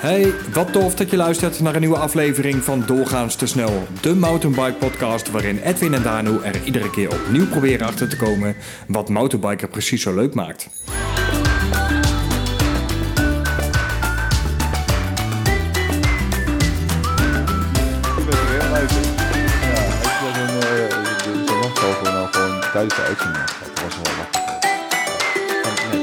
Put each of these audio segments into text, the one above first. Hey, wat tof dat je luistert naar een nieuwe aflevering van Doorgaans te snel, de mountainbike podcast waarin Edwin en Danu er iedere keer opnieuw proberen achter te komen wat mountainbiker precies zo leuk maakt. Ik ben weer luister. Ja, ik was een uh, de nachtschool gewoon al gewoon tijdens de uitzending. Dat was wel wat. Nee,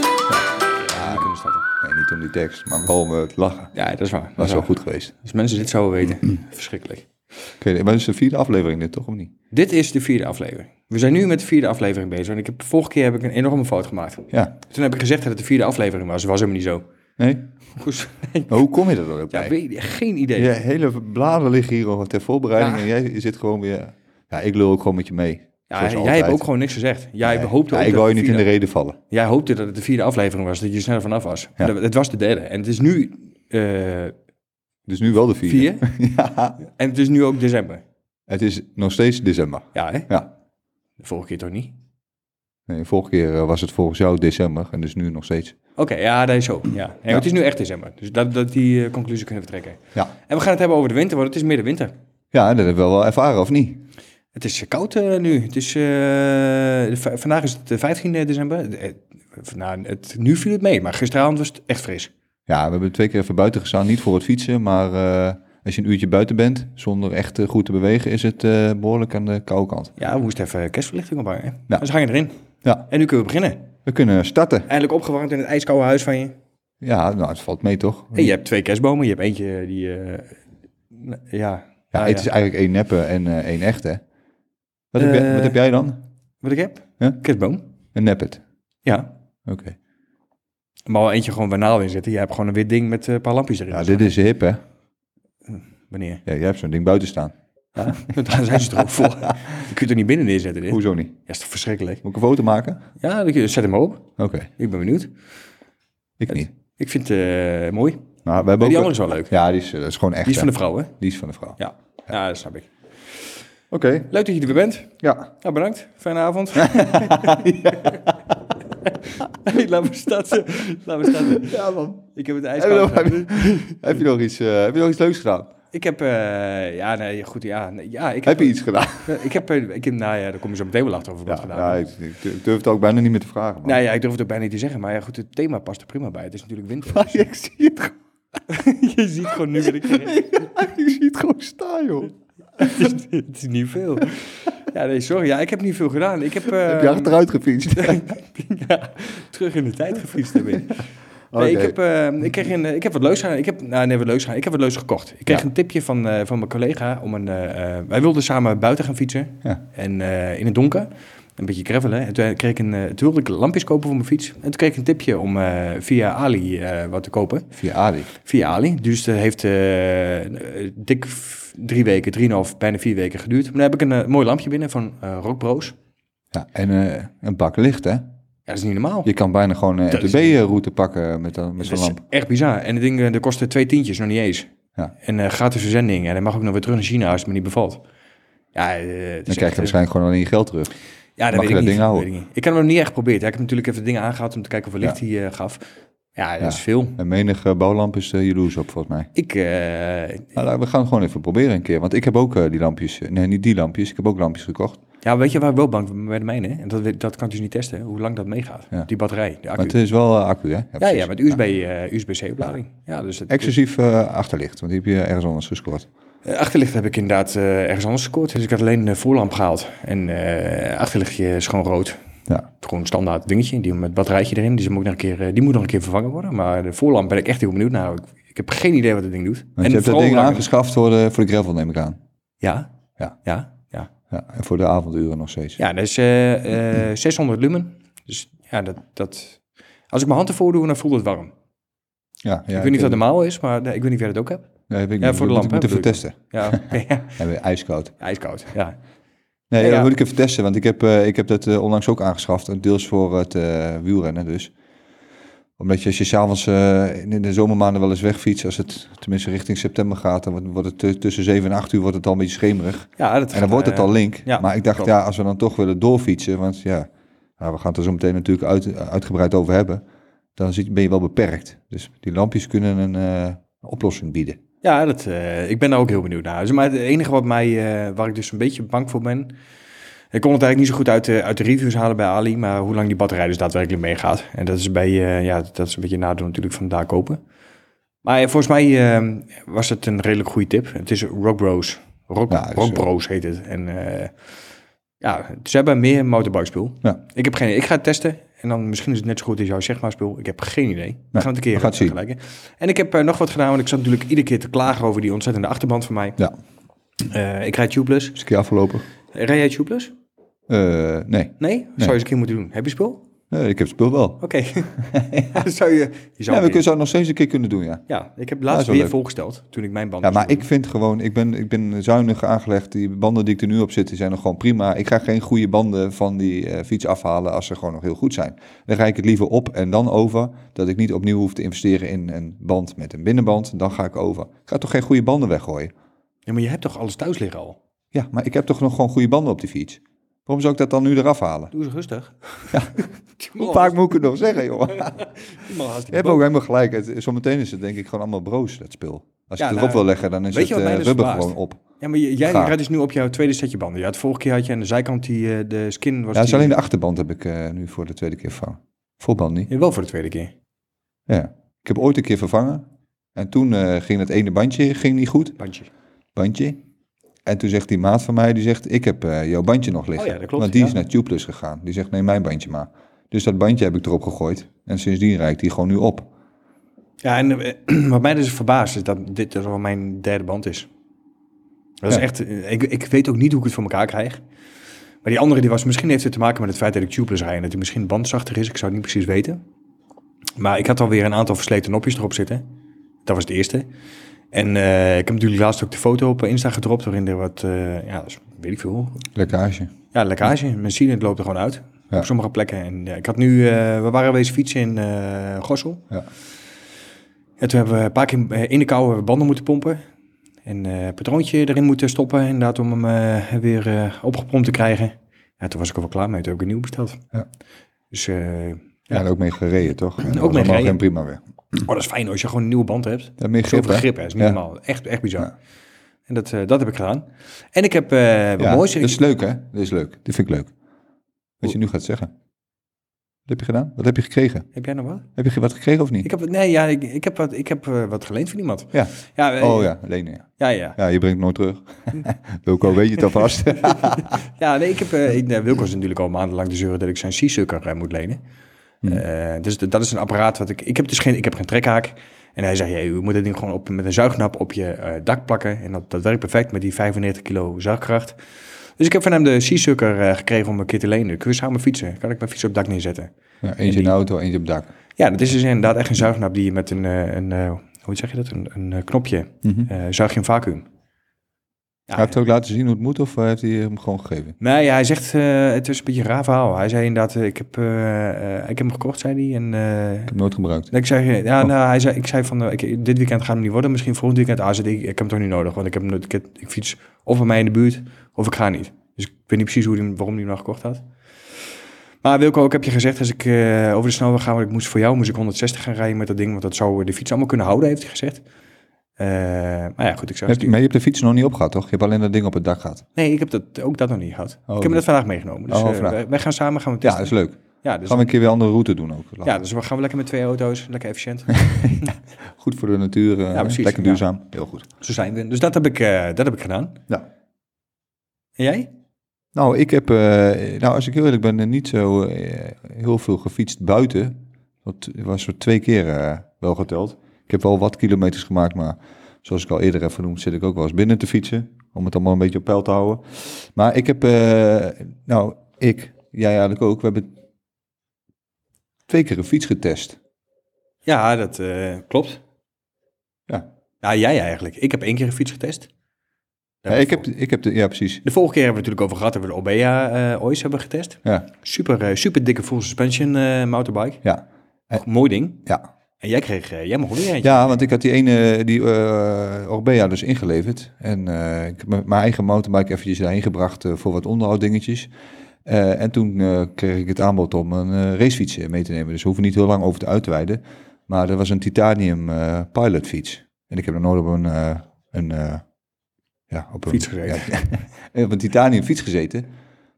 ja, we kunnen starten. Nee, niet om die tekst, maar wel om eh, het lachen. Ja, dat is waar. Dat is wel waar. goed geweest. Als mensen dit zouden Mm. weten, verschrikkelijk. Oké, maar het is de vierde aflevering dit toch of niet? Dit is de vierde aflevering. We zijn nu met de vierde aflevering bezig. En ik heb, vorige keer heb ik een enorme fout gemaakt. Ja. Toen heb ik gezegd dat het de vierde aflevering was. Dat was helemaal niet zo. Nee? Goed. nee. Maar hoe kom je er dan ook Ja, bij? weet, geen idee. Je hele bladen liggen hier al ter voorbereiding Ja. en jij zit gewoon weer... Ja, ik lul ook gewoon met je mee. Ja, zoals jij altijd. hebt ook gewoon niks gezegd. Jij Nee. hoopte Ja, ook ik dat wou je het niet in de vierde- reden vallen. Jij hoopte dat het de vierde aflevering was, dat je snel vanaf was. Ja. Dat- Het was de derde. En het is nu eh, Dus nu wel de vierde. vier. Ja. En het is nu ook december. Het is nog steeds december. Ja, hè? Ja. De vorige keer toch niet? Nee, vorige keer eh, was het volgens jou december en dus nu nog steeds. Oké, ja, dat is zo. Ja. Nee, maar Ja. Het is nu echt december. Dus dat, dat die eh, conclusie kunnen we trekken. Ja. En we gaan het hebben over de winter, want het is middenwinter. Ja, en dat hebben we wel ervaren, of niet? Het is eh, koud eh, nu. Het is, eh, v- vandaag is het de 15 december. Eh, v- nou, het, nu viel het mee, maar gisteravond was het echt fris. Ja, we hebben twee keer even buiten gestaan. Niet voor het fietsen, maar eh, als je een uurtje buiten bent, zonder echt eh, goed te bewegen, is het eh, behoorlijk aan de koude kant. Ja, we moesten even kerstverlichting ophangen. hè. Ja. Dus hangen erin. Ja, En nu kunnen we beginnen. we kunnen starten. Eindelijk opgewarmd in het ijskoude huis van je. Ja, nou, het valt mee toch? En je hebt twee kerstbomen. Je hebt eentje die... eh, n- ja. Ja, Ah, het is eigenlijk één neppe en eh, één echte. Wat, heb jij, Eh. wat heb jij dan? Wat ik heb? Ja? Kerstboom. Een neppet. Ja. Oké. Maar wel eentje gewoon waar naald in zitten. Je hebt gewoon een wit ding met eh, een paar lampjes erin. Ja, dit is hip, hè? Ja, Wanneer? jij hebt zo'n ding buiten staan. Ja, daar zijn ze toch ook voor. Je kunt er niet binnen neerzetten dit. Hoezo niet? Ja, is toch verschrikkelijk? Moet ik een foto maken? Ja, dan kun je- zet hem op. Oké, Ik ben benieuwd. ik niet. Ik vind het eh, mooi. Die Maar we hebben ook... andere is wel leuk. Ja, die is, eh, dat is gewoon echt. Die is van de vrouw, hè? die is van de vrouw. Ja. ja, dat snap ik. Oké, Leuk dat je er weer bent. ja. Ja, bedankt. Fijne avond. Hey, laat me starten. Laat me starten. Ja, man. Ik heb het Heb je, nog, heb, ijskoud. je, heb je nog iets, eh, heb je nog iets leuks gedaan? Ik heb... eh, ja, nee, goed. Ja, nee, ja ik Heb je iets gedaan? eh, Ik heb... eh, Ik heb nou ja, daar kom je zo meteen wel achter over wat Ja, gedaan. ja, ik, ik durf- ik durf het ook bijna niet meer te vragen. man. Nou ja, ik durf het ook bijna niet te zeggen. Maar ja, goed, het thema past er prima bij. Het is natuurlijk winter. Maar ik, zie het, gewoon- Je ziet gewoon nu weer... ik zie het gewoon staan, joh. het, is, het is niet veel. Ja, nee, sorry. Ja, ik heb niet veel gedaan. Ik heb, eh, heb je achteruit gefietst? ja, terug in de tijd gefietst heb ik. Nee, ik, Oké. heb, eh, ik, kreeg een, eh, ik heb wat leuks gedaan. Ik heb, nou, nee, wat leuks gedaan. Ik heb wat leuks gekocht. Ik kreeg Ja. een tipje van, eh, van mijn collega. Om een, eh, eh, wij wilden samen buiten gaan fietsen. Ja. En eh, in het donker. Een beetje gravelen. En toen, kreeg ik een, eh, toen wilde ik lampjes kopen voor mijn fiets. En toen kreeg ik een tipje om eh, via Ali eh, wat te kopen. Via Adi. Via Ali. Dus dat heeft eh, eh, dik v- drie weken, drieënhalf, bijna vier weken geduurd. Maar dan heb ik een eh, mooi lampje binnen van eh Rockbro's. Ja, en eh, een bak licht, hè? Ja, dat is niet normaal. Je kan bijna gewoon eh, een Dat is- MTB-route pakken met, dat- met zo'n dat is lamp. echt bizar. En het ding eh, dat kostte twee tientjes, nog niet eens. Ja. En eh gratis verzending. En hij mag ook nog weer terug naar China als het me niet bevalt. Ja, eh, het is Dan echt, krijg je eh, waarschijnlijk gewoon alleen je geld terug. Ja, mag dat weet je ik, dat niet, ding houden? weet ik niet. Ik heb hem nog niet echt geprobeerd. hè. Ik heb natuurlijk even dingen aangehaald om te kijken hoeveel licht Ja. hij eh, gaf. Ja, dat Ja. is veel. En menige bouwlamp is eh, jaloers op, volgens mij. Ik, eh, Maar laten we gaan het gewoon even proberen een keer. Want ik heb ook eh, die lampjes... eh, Nee, niet die lampjes. Ik heb ook lampjes gekocht. ja, weet je waar ik wel bang voor ben bij de mijne? En dat, weet- dat kan ik dus niet testen, hè, hoe lang dat meegaat. Ja. Die batterij, de accu. Maar het is wel eh, accu, hè? Ja, precies. Nou. ja, met USB, eh, USB-C-oplading. Ja, dus het, Exclusief eh, achterlicht, want die heb je ergens anders gescoord. eh, achterlicht heb ik inderdaad eh, ergens anders gescoord. Dus ik had alleen de voorlamp gehaald. En eh, achterlichtje is gewoon rood. Ja. Gewoon een standaard dingetje, die met batterijtje erin. Die, moet nog een keer, eh, die moet nog een keer vervangen worden. Maar de voorlamp ben ik echt heel benieuwd naar. Ik, ik heb geen idee wat dat ding doet. Want je hebt dat vooral ding hoe lang- aangeschaft voor de, voor de gravel, neem ik aan. Ja, Ja. ja, ja. ja. Ja, en voor de avonduren nog steeds. Ja, dat is eh, eh, 600 lumen. Dus ja, dat, dat... Als ik mijn hand ervoor doe, dan voelt het warm. Ja, ja, ik weet niet of dat normaal is, maar nee, ik weet niet of jij dat ook hebt. Nee, weet ik Ja, niet. voor de Moet- lamp, Moeten hè, we bedoel testen. Ja, oké, ja. Ja, weer ijskoud. ijskoud. Ja. Nee, Ja, dat ja. moet ik even testen, want ik heb, eh, ik heb dat eh, onlangs ook aangeschaft. En deels voor het eh, wielrennen dus. Omdat je als je s'avonds eh in de zomermaanden wel eens wegfietst, als het tenminste richting september gaat, dan wordt- wordt het eh, tussen 7 en 8 uur wordt het al een beetje schemerig. ja dat En dan wordt het eh, al link. ja, maar ik dacht, klopt. ja, als we dan toch willen doorfietsen, want ja, nou, we gaan het er zo meteen natuurlijk uit, uitgebreid over hebben, dan zit, ben je wel beperkt. Dus die lampjes kunnen een eh, oplossing bieden. Ja, dat, eh, ik ben daar ook heel benieuwd naar. Dus, maar het enige wat mij, eh, waar ik dus een beetje bang voor ben. Ik kon het eigenlijk niet zo goed uit, de- uit de reviews halen bij Ali. Maar hoe lang die batterij dus daadwerkelijk meegaat. En dat is, bij, eh, ja, dat is een beetje een nadeel natuurlijk van daar kopen. Maar eh, volgens mij eh, was het een redelijk goede tip. Het is Rock Bros. Rock, Ja, dus, Rock eh, Bros heet het. En eh, ja, ze hebben meer motorbikespul. Ja. Ik heb geen Ik ga het testen. En dan misschien is het net zo goed als jouw zeg maar spul. Ik heb geen idee. We gaan het een keer we gaan het zien. vergelijken. En ik heb eh, nog wat gedaan, want ik zat natuurlijk iedere keer te klagen over die ontzettende achterband van mij. Ja. Eh, ik rijd Tubeless. Is een keer afgelopen? Rij jij Tubeless? Eh, nee. Nee? Zou je eens een keer moeten doen. Heb je spul? Nee, ik heb het spul wel. Oké. Ja, zou je... je Ja, zou we weer- kunnen het nog steeds een keer kunnen doen, ja. ja, ik heb Ja, is laatst wel weer leuk. voorgesteld toen ik mijn band Ja, moest maar doen. ik vind gewoon, ik ben, ik ben zuinig aangelegd. Die banden die ik er nu op zit, die zijn nog gewoon prima. Ik ga geen goede banden van die eh, fiets afhalen als ze gewoon nog heel goed zijn. Dan ga ik het liever op en dan over. Dat ik niet opnieuw hoef te investeren in een band met een binnenband. Dan ga ik over. Ik ga toch geen goede banden weggooien? Ja, maar je hebt toch alles thuis liggen al? Ja, maar ik heb toch nog gewoon goede banden op die fiets? Waarom zou ik dat dan nu eraf halen? Doe eens rustig. Hoe vaak moet ik het nog zeggen, joh? Je hebt ook helemaal gelijk. Het- Zometeen is het denk ik gewoon allemaal broos, dat spul. Als je Ja, het nou, erop wil leggen, dan is weet het je wat eh, mij dus rubber verbaast? gewoon op. Ja, maar j- jij Gaar. rijdt dus nu op jouw tweede setje banden. Ja, het vorige keer had je aan de zijkant die eh, de skin was. Ja, dat is die- alleen de achterband heb ik eh, nu voor de tweede keer vervangen. Voorband niet. Ja, wel voor de tweede keer. Ja. Ik heb ooit een keer vervangen. En toen eh, ging dat ene bandje ging niet goed. Bandje. Bandje. En toen zegt die maat van mij, die zegt, ik heb eh, jouw bandje nog liggen. Oh ja, dat klopt, Want die ja. is naar Tubeless gegaan. Die zegt, neem mijn bandje maar. Dus dat bandje heb ik erop gegooid. En sindsdien rijdt die gewoon nu op. Ja, en eh, wat mij dus verbaast is dat dit dus al mijn derde band is. Dat Ja. is echt, eh, ik, ik weet ook niet hoe ik het voor elkaar krijg. Maar die andere die was, misschien heeft het te maken met het feit dat ik tubeless rijd en dat hij misschien bandzachter is. Ik zou het niet precies weten. Maar ik had alweer een aantal versleten nopjes erop zitten. Dat was het eerste. En eh, ik heb natuurlijk laatst ook de foto op Insta gedropt waarin er wat, eh, ja, dus weet ik veel, Lekkage. ja, lekkage. Mijn cilinder loopt er gewoon uit. Ja. Op sommige plekken. En eh, ik had nu, eh, we waren wezen fietsen in eh Gossel. Ja. En toen hebben we een paar keer eh, in de kou hebben we banden moeten pompen. En eh patroontje erin moeten stoppen. Inderdaad, om hem eh, weer eh, opgepompt te krijgen. Ja, toen was ik er wel klaar mee. Toen heb ik een nieuw besteld. Ja. Dus, eh, Ja, en ook mee gereden, toch? En mee allemaal gereden. geen prima weer. oh, dat is fijn als je gewoon een nieuwe band hebt. Ja, meer grip, Zoveel hè? grip, hè. Dat is niet Ja. normaal. Echt, echt bizar. Ja. En dat, eh, dat heb ik gedaan. En ik heb, eh wat Ja, dus- moois. dat is leuk, hè? Dat is leuk. Dit vind ik leuk. Wat je nu gaat zeggen. Wat heb je gedaan? Wat heb je gekregen? Heb jij nog wat? Heb je wat gekregen of niet? Ik heb, nee, ja, ik, ik heb, wat, ik heb eh, wat geleend van iemand. Ja. Ja, eh, Oh ja, lenen. Ja. Ja, ja. ja, je brengt het nooit terug. Wilco, weet je het alvast? ja nee, ik heb, eh, ik, eh, Wilco is natuurlijk al maandenlang de zeuren dat ik zijn C-sucker eh, moet lenen. Eh, dus d- dat is een apparaat wat ik... Ik heb dus geen, ik heb geen trekhaak. En hij zei, hey, u moet het ding gewoon op, met een zuignap op je eh, dak plakken. En dat, dat werkt perfect met die 95 kilo zuigkracht. Dus ik heb van hem de C-sucker eh, gekregen om een keer te lenen. Kun je samen fietsen? Kan ik mijn fiets op het dak neerzetten? Ja, eentje in de auto, eentje op het dak. Ja, dat is dus inderdaad echt een zuignap die je met een, eh, een eh, hoe zeg je dat, een, een eh, knopje, eh, zuig je een vacuüm. Ja, Mhm. Hij heeft ook laten zien hoe het moet of eh, heeft hij hem gewoon gegeven? Nee, ja, hij zegt, eh, het is een beetje een raar verhaal. Hij zei inderdaad, eh, ik, heb, eh, eh, ik heb hem gekocht, zei hij. En eh, Ik heb hem nooit gebruikt. ik zei, ja, Oh. nou, hij zei, ik zei van, eh, ik, dit weekend gaat hem niet worden. Misschien volgend weekend. Ah, zei hij, ik, ik heb hem toch niet nodig, want ik, heb hem, nooit- ik, heb- ik fiets of bij mij in de buurt, of ik ga niet. Dus ik weet niet precies hoe die, hem- waarom hij hem nou gekocht had. Maar Wilco, ik heb je gezegd, als ik eh, over de snelweg ga, want ik moest voor jou moest ik 160 gaan rijden met dat ding, want dat zou de fiets allemaal kunnen houden, heeft hij gezegd. Eh, maar ja, goed, ik zei... Heb je- maar je hebt de fiets nog niet opgehad, toch? Je hebt alleen dat ding op het dak gehad. Nee, ik heb dat, ook dat nog niet gehad. ik heb me dat- dat vandaag meegenomen. Dus Oh, eh, vandaag. wij, wij gaan samen gaan we Oh, Ja, testen. dat is leuk. Ja, dus, Gaan we een keer weer een andere route doen ook. ja, dus we gaan we lekker met twee auto's, lekker efficiënt. Goed voor de natuur, eh, Ja, precies, lekker ja. duurzaam. Heel goed. Zo zijn we. Dus dat heb ik, eh, dat heb ik gedaan. Ja. En jij? Nou, ik heb, eh, nou, als ik heel eerlijk ben, eh, niet zo eh, heel veel gefietst buiten. Dat was zo twee keer eh, wel geteld. Ik heb wel wat kilometers gemaakt, maar zoals ik al eerder heb vernoemd, zit ik ook wel eens binnen te fietsen. Om het allemaal een beetje op peil te houden. Maar ik heb, eh, nou, ik, jij eigenlijk ook, we hebben twee keer een fiets getest. Ja, dat eh, klopt. Ja. Ja, jij eigenlijk. Ik heb één keer een fiets getest. Ja, ik, heb, ik heb, de, ja precies. De vorige keer hebben we het natuurlijk over gehad, hebben we de Obeya eh Ois hebben getest. Ja, Super, eh, super dikke full suspension eh, mountainbike. ja, Goed, Mooi ding. ja. En jij kreeg, eh, jij mocht weer eentje. Ja, want ik had die ene, die eh Orbea dus ingeleverd. En eh, ik heb mijn mijn eigen mountainbike eventjes daarheen gebracht eh, voor wat onderhouddingetjes. Eh, en toen eh, kreeg ik het aanbod om een eh, racefiets eh, mee te nemen. Dus we hoeven niet heel lang over te uitweiden. Maar dat was een titanium eh, pilotfiets. En ik heb nog nooit op een, eh, een eh, ja, op een Fiets gereden. ja, eh, op een titanium fiets gezeten.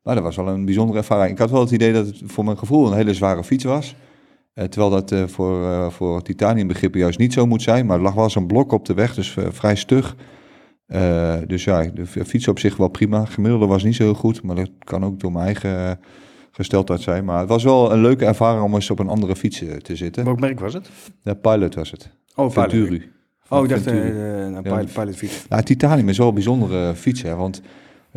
Maar dat was wel een bijzondere ervaring. Ik had wel het idee dat het voor mijn gevoel een hele zware fiets was. Eh, terwijl dat eh, voor, eh voor titaniumbegrippen juist niet zo moet zijn. Maar er lag wel zo'n blok op de weg, dus eh, vrij stug. Eh, dus ja, de f- fiets op zich wel prima. Gemiddelde was niet zo heel goed, maar dat kan ook door mijn eigen eh, gesteldheid zijn. Maar het was wel een leuke ervaring om eens op een andere fiets eh, te zitten. Welk merk was het? De Pilot was het. Oh, Pilot. Venturi. Oh, ik dacht eh Venturi. eh, een Ja, pilot, pilotfiets. Nou, titanium is wel een bijzondere fiets, hè, want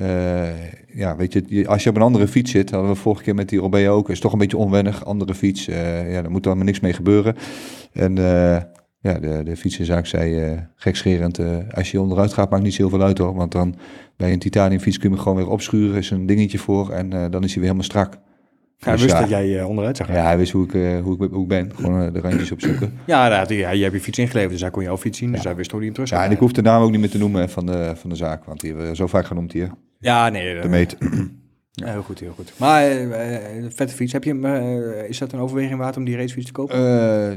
eh, ja, weet je, je- als je op een andere fiets zit, hadden we vorige keer met die Orbea ook, is toch een beetje onwennig, andere fiets, eh, ja, daar moet dan maar niks mee gebeuren. En eh, ja, de, de fietsenzaak zei eh gekscherend, eh, als je onderuit gaat maakt niet zoveel uit hoor, want dan bij een titaniumfiets kun je hem gewoon weer opschuren, is een dingetje voor en eh, dan is hij weer helemaal strak. Hij Dus wist ja, dat jij eh, onderuit zou gaan. Ja, hij wist hoe ik, eh, hoe ik, hoe ik ben, gewoon eh, de randjes opzoeken. Ja, daar had hij- ja, jij hebt je fiets ingeleverd, dus hij kon jouw fiets zien. Dus hij wist hoe hij hem terug zou Ja, en ik krijgen. hoef de naam ook niet meer te noemen hè, van de, van de zaak, want die hebben we zo vaak genoemd hier. Ja, nee. De eh, meet. ja, heel goed, heel goed. Maar eh, eh, vette fiets. Heb je hem, eh, is dat een overweging waard om die racefiets te kopen? Eh,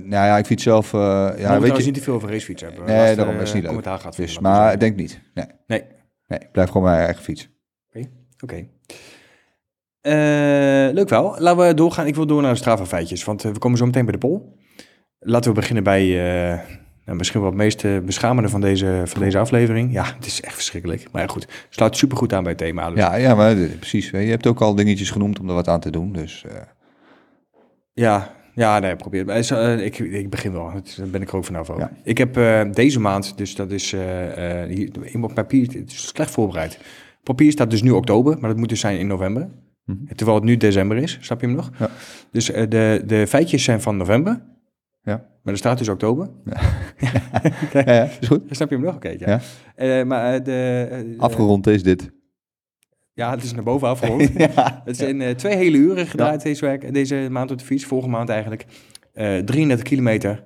nou ja, ik fiets zelf. eh, ja, ja, weet je, niet te veel over racefiets hebben. Nee, Laatste, daarom is eh, niet leuk. commentaar gaat dus- vis, vinden, maar laten ik denk niet. Nee, we zeggen. Nee, nee, ik blijf gewoon mijn eigen fiets. oké. Eh, leuk wel. Laten we doorgaan. Ik wil door naar de Strava-feitjes, want eh, we komen zo meteen bij de poll. Laten we beginnen bij eh, nou, misschien wel het meest eh, beschamende van deze, van deze aflevering. Ja, het is echt verschrikkelijk. Maar ja, goed, sluit supergoed aan bij het thema. Dus. Ja, ja maar eh, precies. hè, Je hebt ook al dingetjes genoemd om er wat aan te doen. Dus eh, Ja, ja, nee, probeer. het. Maar is, eh, Ik, ik begin wel, Het- daar ben ik er ook vanaf over. Ja. Ik heb eh, deze maand, dus dat is eh, eh, hier, in mijn papier, het is slecht voorbereid. Papier staat dus nu oktober, maar dat moet dus zijn in november. Terwijl het nu december is, snap je hem nog? Mhm. Ja. Dus eh, de, de feitjes zijn van november, ja. maar er staat dus oktober. Ja, ja, is goed. Snap je hem nog? Oké, ja. Ja. Eh, maar eh, de... eh, Afgerond is dit. Ja, het is naar boven afgerond. Het zijn eh, twee hele uren gedraaid deze, week, deze maand op de fiets. Vorige maand eigenlijk. Eh 33 kilometer.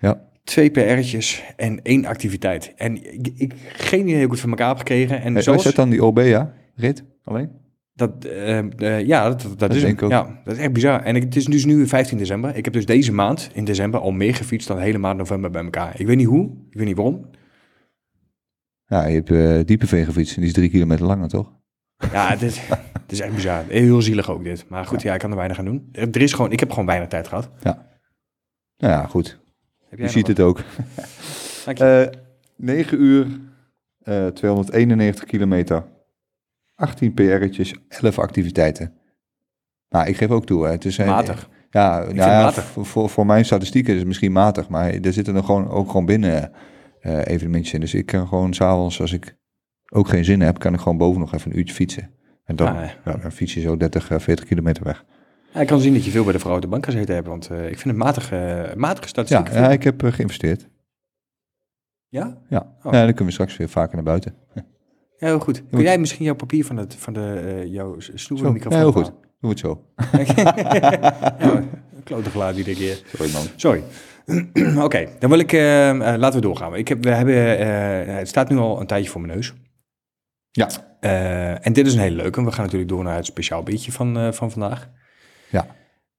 Ja. Eh, Twee PR'tjes en één activiteit. En ik, ik geen idee hoe ik het van elkaar heb gekregen. En Hey, zoals... Zet dan die Orbea rit alleen? Dat, eh, eh, ja, dat, dat, is denk hem. ik ook. Ja, dat is echt bizar. En ik, het is dus nu 15 december. Ik heb dus deze maand in december al meer gefietst dan de hele maand november bij elkaar. Ik weet niet hoe, ik weet niet waarom. Ja, je hebt eh Diepeveen gefietst en die is drie kilometer langer, toch? Ja, het is, het is echt bizar. Heel zielig ook dit. Maar goed, ja, ik kan er weinig aan doen. Er er is gewoon, ik heb gewoon weinig tijd gehad. Nou ja, goed. Heb Je jij ziet nog het ook. wat? Dank je. Eh 9 uur, eh 291 kilometer, 18 PR'tjes, 11 activiteiten. Nou, ik geef ook toe. Hè. Het is, eh, Matig. Ja, nou vind ja, matig. v- Voor, voor mijn statistieken is het misschien matig, maar er zitten er gewoon, ook gewoon binnen eh evenementjes in. Dus ik kan gewoon s'avonds, als ik ook geen zin heb, kan ik gewoon boven nog even een uurtje fietsen. En dan, Ah, ja. ja, dan fiets je zo 30, eh, 40 kilometer weg. Ja, ik kan zien dat je veel bij de vrouw op de bank gezeten hebt, want eh, ik vind het matig, eh, matige Ja, statistiek. ja, ik heb eh, geïnvesteerd. ja? Ja. Oh. ja, dan kunnen we straks weer vaker naar buiten. Ja, heel goed. Kun moet- jij misschien jouw papier van, het, van de, eh, jouw Zo, snoermicrofoon Oh, ja, heel goed. Doen we het zo. Een klote geluid iedere keer. Sorry man. Sorry. Oké, dan wil ik, eh, eh, laten we doorgaan. Ik heb, we hebben, eh, het staat nu al een tijdje voor mijn neus. Ja. Eh, en dit is een hele leuke. We gaan natuurlijk door naar het speciaal biertje van, eh, van vandaag. Ja.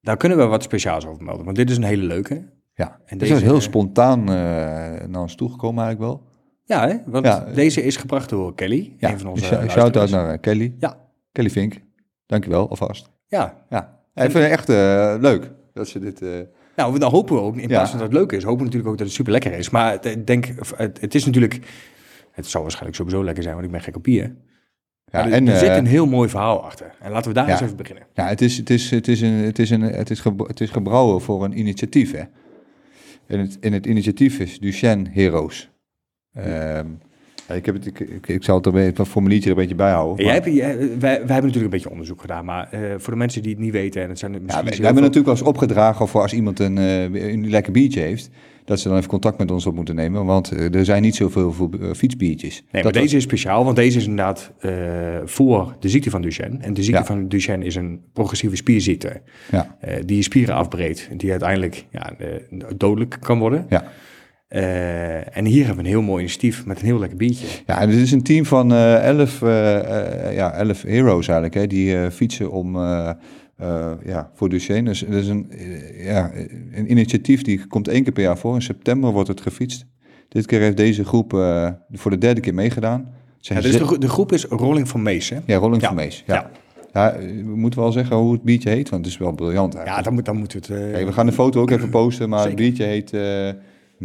Daar kunnen we wat speciaals over melden, want dit is een hele leuke. Ja, En en deze- is heel spontaan eh, naar ons toegekomen eigenlijk wel. Ja, hè? want Ja. deze is gebracht door Kelly, Ja, een van onze dus, eh, luisteraars. shout-out naar eh, Kelly. Ja. Kelly Vink, dankjewel alvast. Ja, Ja, ik vind het echt eh, leuk dat ze dit... eh, nou, dan hopen we ook, in Ja. plaats van dat het leuk is, hopen we natuurlijk ook dat het super lekker is. Maar het- ik denk, het, het is natuurlijk, het zal waarschijnlijk sowieso lekker zijn, want ik ben gek op bier. ja, Maar er, en, er zit eh, een heel mooi verhaal achter. En laten we daar Ja. eens even beginnen. Ja, het is, het is, het is, een, het is, een, het is, gebr- het is gebrouwen voor een initiatief. Hè? En, het, en het initiatief is Duchenne Heroes. Ehm, ja, ik, heb het, ik, ik, ik zal het er een beetje- een formuliertje er een beetje bij houden. En Jij maar- hebt, jij- wij, wij hebben natuurlijk een beetje onderzoek gedaan, maar eh, voor de mensen die het niet weten, en het zijn er Ja, misschien we, we heel hebben veel- natuurlijk wel eens opgedragen voor als iemand een, eh, een lekker biertje heeft, dat ze dan even contact met ons op moeten nemen, want eh, er zijn niet zoveel veel, eh, fietsbiertjes. Nee, dat maar deze is speciaal, want deze is inderdaad eh, voor de ziekte van Duchenne. En de ziekte Ja. van Duchenne is een progressieve spierziekte Ja, eh, die je spieren afbreekt, die uiteindelijk ja, eh, dodelijk kan worden. ja. Eh, en hier hebben we een heel mooi initiatief met een heel lekker biertje. ja en dit is een team van eh, elf, eh, eh, ja, elf heroes eigenlijk, hè, die eh, fietsen om, eh, eh, ja, voor Duchenne. Dus het is een, eh, ja, een initiatief die komt één keer per jaar voor. In september wordt het gefietst. Dit keer heeft deze groep eh, voor de derde keer meegedaan. Het zijn Ja, dus ze- de, gro- de groep is Rolling van Mees, hè? ja, Rolling Ja. van Mees. Ja. Ja. Ja. eh, we moeten wel zeggen hoe het biertje heet, want het is wel briljant eigenlijk. Ja, dan, moet, dan moeten we het... eh, Kijk, we gaan de foto ook even posten, maar Zeker. het biertje heet eh,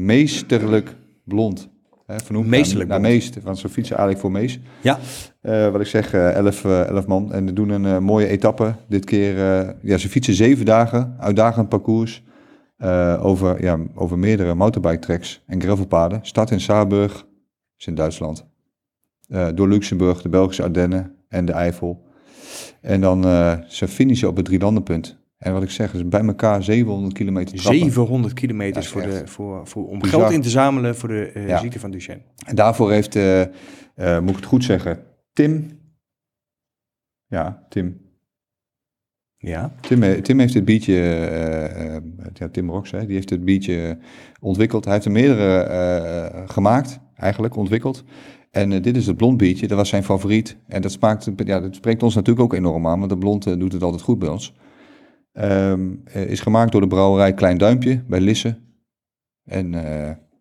Meesterlijk Blond. Hè, vernoemd Meesterlijk naar, naar Blond. Meest, want ze fietsen eigenlijk voor Mees. Ja, Eh, wat ik zeg, eh, 11 eh, 11 man. En we doen een eh, mooie etappe. Dit keer, eh, ja, ze fietsen zeven dagen, uitdagend parcours. eh, over, ja, over meerdere mountainbike tracks en gravelpaden. Start in Saarburg, dat is in Duitsland. Eh, door Luxemburg, de Belgische Ardennen en de Eifel. En dan eh, ze finishen op het drielandenpunt. En wat ik zeg, is bij elkaar 700 kilometer trappen. 700 kilometer Ja, voor echt. de, voor, voor, om Bizar. geld in te zamelen voor de eh, Ja. ziekte van Duchenne. En daarvoor heeft, eh, eh, moet ik het goed zeggen, Tim... Ja, Tim. Ja, Tim, eh, Tim heeft dit biertje, eh, eh, ja, Tim Rox, hè, die heeft dit biertje ontwikkeld. Hij heeft er meerdere eh, gemaakt, eigenlijk ontwikkeld. En eh, dit is het blond biertje, dat was zijn favoriet. En dat, smaakt, ja, dat spreekt ons natuurlijk ook enorm aan, want de blond eh, doet het altijd goed bij ons. Ehm, eh, is gemaakt door de brouwerij Klein Duimpje bij Lisse. En eh,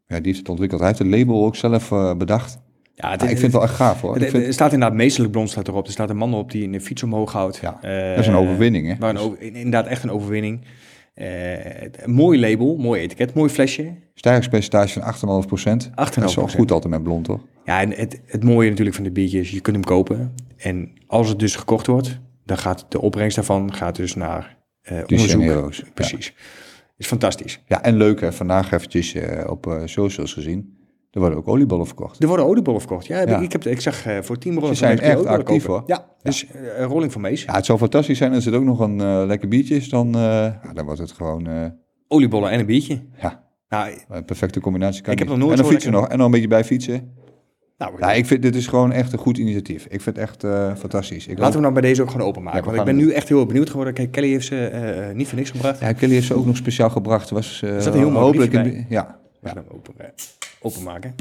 ja, die heeft het ontwikkeld. Hij heeft het label ook zelf eh, bedacht. ja het, Ja, ik vind het wel echt gaaf hoor. het- Ik vind, Er staat inderdaad meestelijk blond staat erop. Er staat een man op die een fiets omhoog houdt. Ja, Eh, dat is een overwinning hè. Maar een over- inderdaad echt een overwinning. Eh, het- een mooi label, mooi etiket, mooi flesje. Stijgingspercentage van 8,5 Dat is wel 8,5%. goed altijd met blond toch? Ja, en het, het mooie natuurlijk van de biertje is, je kunt hem kopen. En als het dus gekocht wordt, dan gaat de opbrengst daarvan gaat dus naar eh onderzoek. Heroes, Dus ja. Precies. Is fantastisch. Ja, en leuk hè, vandaag eventjes eh, op eh, socials gezien. Er worden ook oliebollen verkocht. Er worden oliebollen verkocht. Ja, heb Ja. Ik, ik, heb, ik zag eh, voor 10 rollen Ze zijn echt actief, Ja, dus eh, Rolling van Mees. Ja, het zou fantastisch zijn als het ook nog een eh, lekker biertje is. Dan, eh, ja, dan wordt het gewoon eh, Oliebollen en een biertje. ja, Nou, een perfecte combinatie. Kan Ik heb niet. nog nooit en zo dan fietsen lekker- nog. En nog een beetje bij fietsen. nou Ja, ik vind dit is gewoon echt een goed initiatief. Ik vind het echt eh, fantastisch. Ik laten we nou bij deze ook gewoon openmaken. Ja, we want ik gaan ben het nu echt heel erg benieuwd geworden. Kijk, Kelly heeft ze eh, eh, niet voor niks gebracht. ja, Kelly heeft ze ook nog speciaal gebracht. Was, eh, Er zat een heel mooi hopelijk briefje in- Ja, We gaan hem open, eh, openmaken.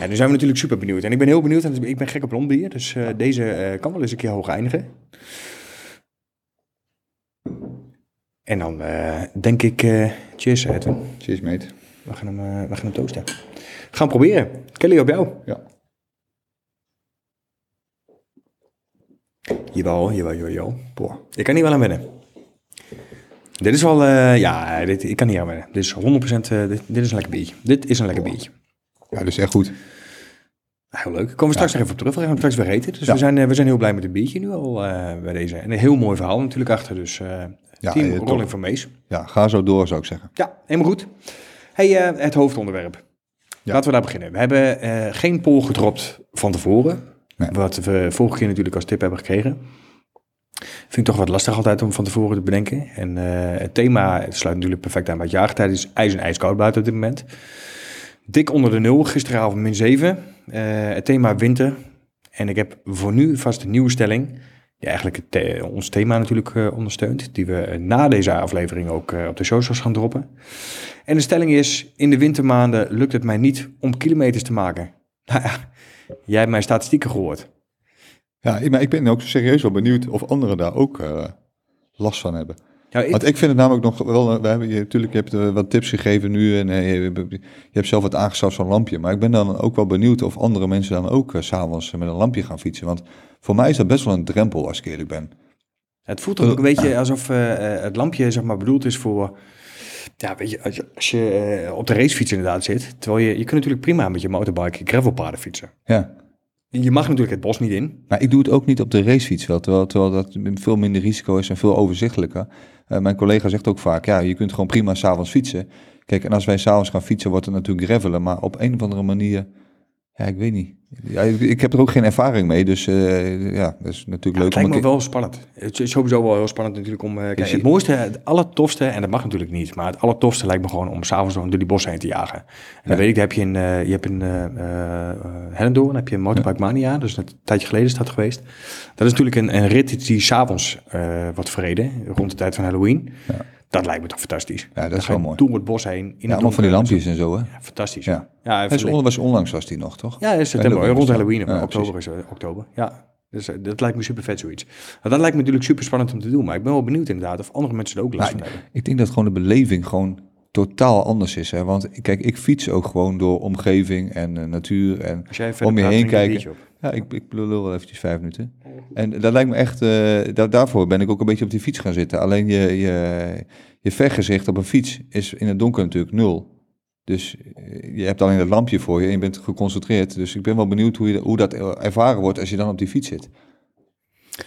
Ja, nu zijn we natuurlijk super benieuwd. En ik ben heel benieuwd. En ik ben gek op blond bier. Dus eh, deze eh, kan wel eens een keer hoog eindigen. En dan eh, denk ik... eh, cheers, Edwin. cheers mate. We gaan hem, eh, we gaan hem toasten. We gaan proberen. Kelly, op jou. Ja. Jawel, jawel, jawel, jawel. Boah. Ik kan niet wel aan wennen. Dit is wel, eh, ja, dit, ik kan niet aan wennen. Dit is 100%, eh, dit, dit is een lekker biertje. Dit is een lekker biertje. ja, dat is echt goed. Heel leuk. Komen we straks nog even op terug. We gaan hem straks weer eten. Dus Ja. we, zijn, eh, we zijn heel blij met het biertje nu al eh, bij deze. En een heel mooi verhaal natuurlijk achter. Dus eh Ja, team eh, top. Rolling van Mees. Ja, ga zo door zou ik zeggen. Ja, helemaal goed. Hey, eh, het hoofdonderwerp. Ja. Laten we daar beginnen. We hebben eh, geen poll gedropt van tevoren. Nee. Wat we vorige keer natuurlijk als tip hebben gekregen. Vind ik toch wat lastig altijd om van tevoren te bedenken. En eh, het thema het sluit natuurlijk perfect aan bij het jaargetijd. Het is ijs en ijskoud buiten op dit moment. Dik onder de nul, gisteravond min 7. Eh, het thema winter. En ik heb voor nu vast een nieuwe stelling. Die eigenlijk het, the- ons thema natuurlijk eh, ondersteunt. Die we eh, na deze aflevering ook eh, op de socials gaan droppen. En de stelling is, in de wintermaanden lukt het mij niet om kilometers te maken. Nou ja, jij hebt mijn statistieken gehoord. Ja, ik- maar ik ben ook serieus wel benieuwd of anderen daar ook eh, last van hebben. Nou, ik- Want ik vind het namelijk nog wel. We hebben, je, natuurlijk, je hebt eh, wat tips gegeven nu. En eh, je, je hebt zelf wat aangeschaft zo'n lampje. Maar ik ben dan ook wel benieuwd of andere mensen dan ook eh, s s'avonds met een lampje gaan fietsen. Want voor mij is dat best wel een drempel als ik eerlijk ben. het voelt toch ook een beetje alsof eh, eh, het lampje zeg maar, bedoeld is voor... Ja, weet je, als je, als je eh, op de racefiets inderdaad zit. Terwijl je, je kunt natuurlijk prima met je motorbike gravelpaden fietsen. Ja. Je mag natuurlijk het bos niet in. Maar ik doe het ook niet op de racefiets wel. Terwijl, terwijl dat veel minder risico is en veel overzichtelijker. Eh, mijn collega zegt ook vaak: ja, je kunt gewoon prima s'avonds fietsen. Kijk, en als wij s'avonds gaan fietsen, wordt het natuurlijk gravelen. Maar op een of andere manier. Ja, ik weet niet. Ja, ik, ik heb er ook geen ervaring mee. Dus eh, ja, dat is natuurlijk leuk het lijkt een me keer- wel spannend. Het is sowieso wel heel spannend natuurlijk om... eh, kijk, Dus je- het mooiste, het allertofste, en dat mag natuurlijk niet... maar het allertofste lijkt me gewoon om s'avonds door die bossen heen te jagen. En dan weet ik, daar heb je een, eh, je hebt een eh eh, eh, Hellendoorn, dan heb je een Motorbike Mania... dus dat een tijdje geleden is dat geweest. Dat is natuurlijk een, een rit die s'avonds eh wordt verreden, rond de tijd van Halloween. Dat lijkt me toch fantastisch. Ja, dat Dan is ga je wel mooi. Door het bos heen. In Ja, het allemaal van die donker. lampjes en zo, hè? Ja, fantastisch. Ja. ja Hij is verlicht. on- was onlangs was die nog, toch? Ja, in september. Halloween rond is dat. Halloween. of Ja, oktober is eh, oktober. Ja. Dus eh, dat lijkt me super vet zoiets. Nou, dat lijkt me natuurlijk super spannend om te doen. Maar ik ben wel benieuwd inderdaad of andere mensen er ook last van hebben. Ik denk dat gewoon de beleving gewoon totaal anders is. Hè? Want kijk, ik fiets ook gewoon door omgeving en eh, natuur. En Als jij verder om je praat, heen drink ik een kijken. biertje op. Ja, ik, ik lul wel eventjes vijf minuten. En dat lijkt me echt, eh, da- daarvoor ben ik ook een beetje op die fiets gaan zitten. Alleen je, je, je vergezicht op een fiets is in het donker natuurlijk nul. Dus eh, je hebt alleen dat lampje voor je en je bent geconcentreerd. Dus ik ben wel benieuwd hoe, je, hoe dat ervaren wordt als je dan op die fiets zit.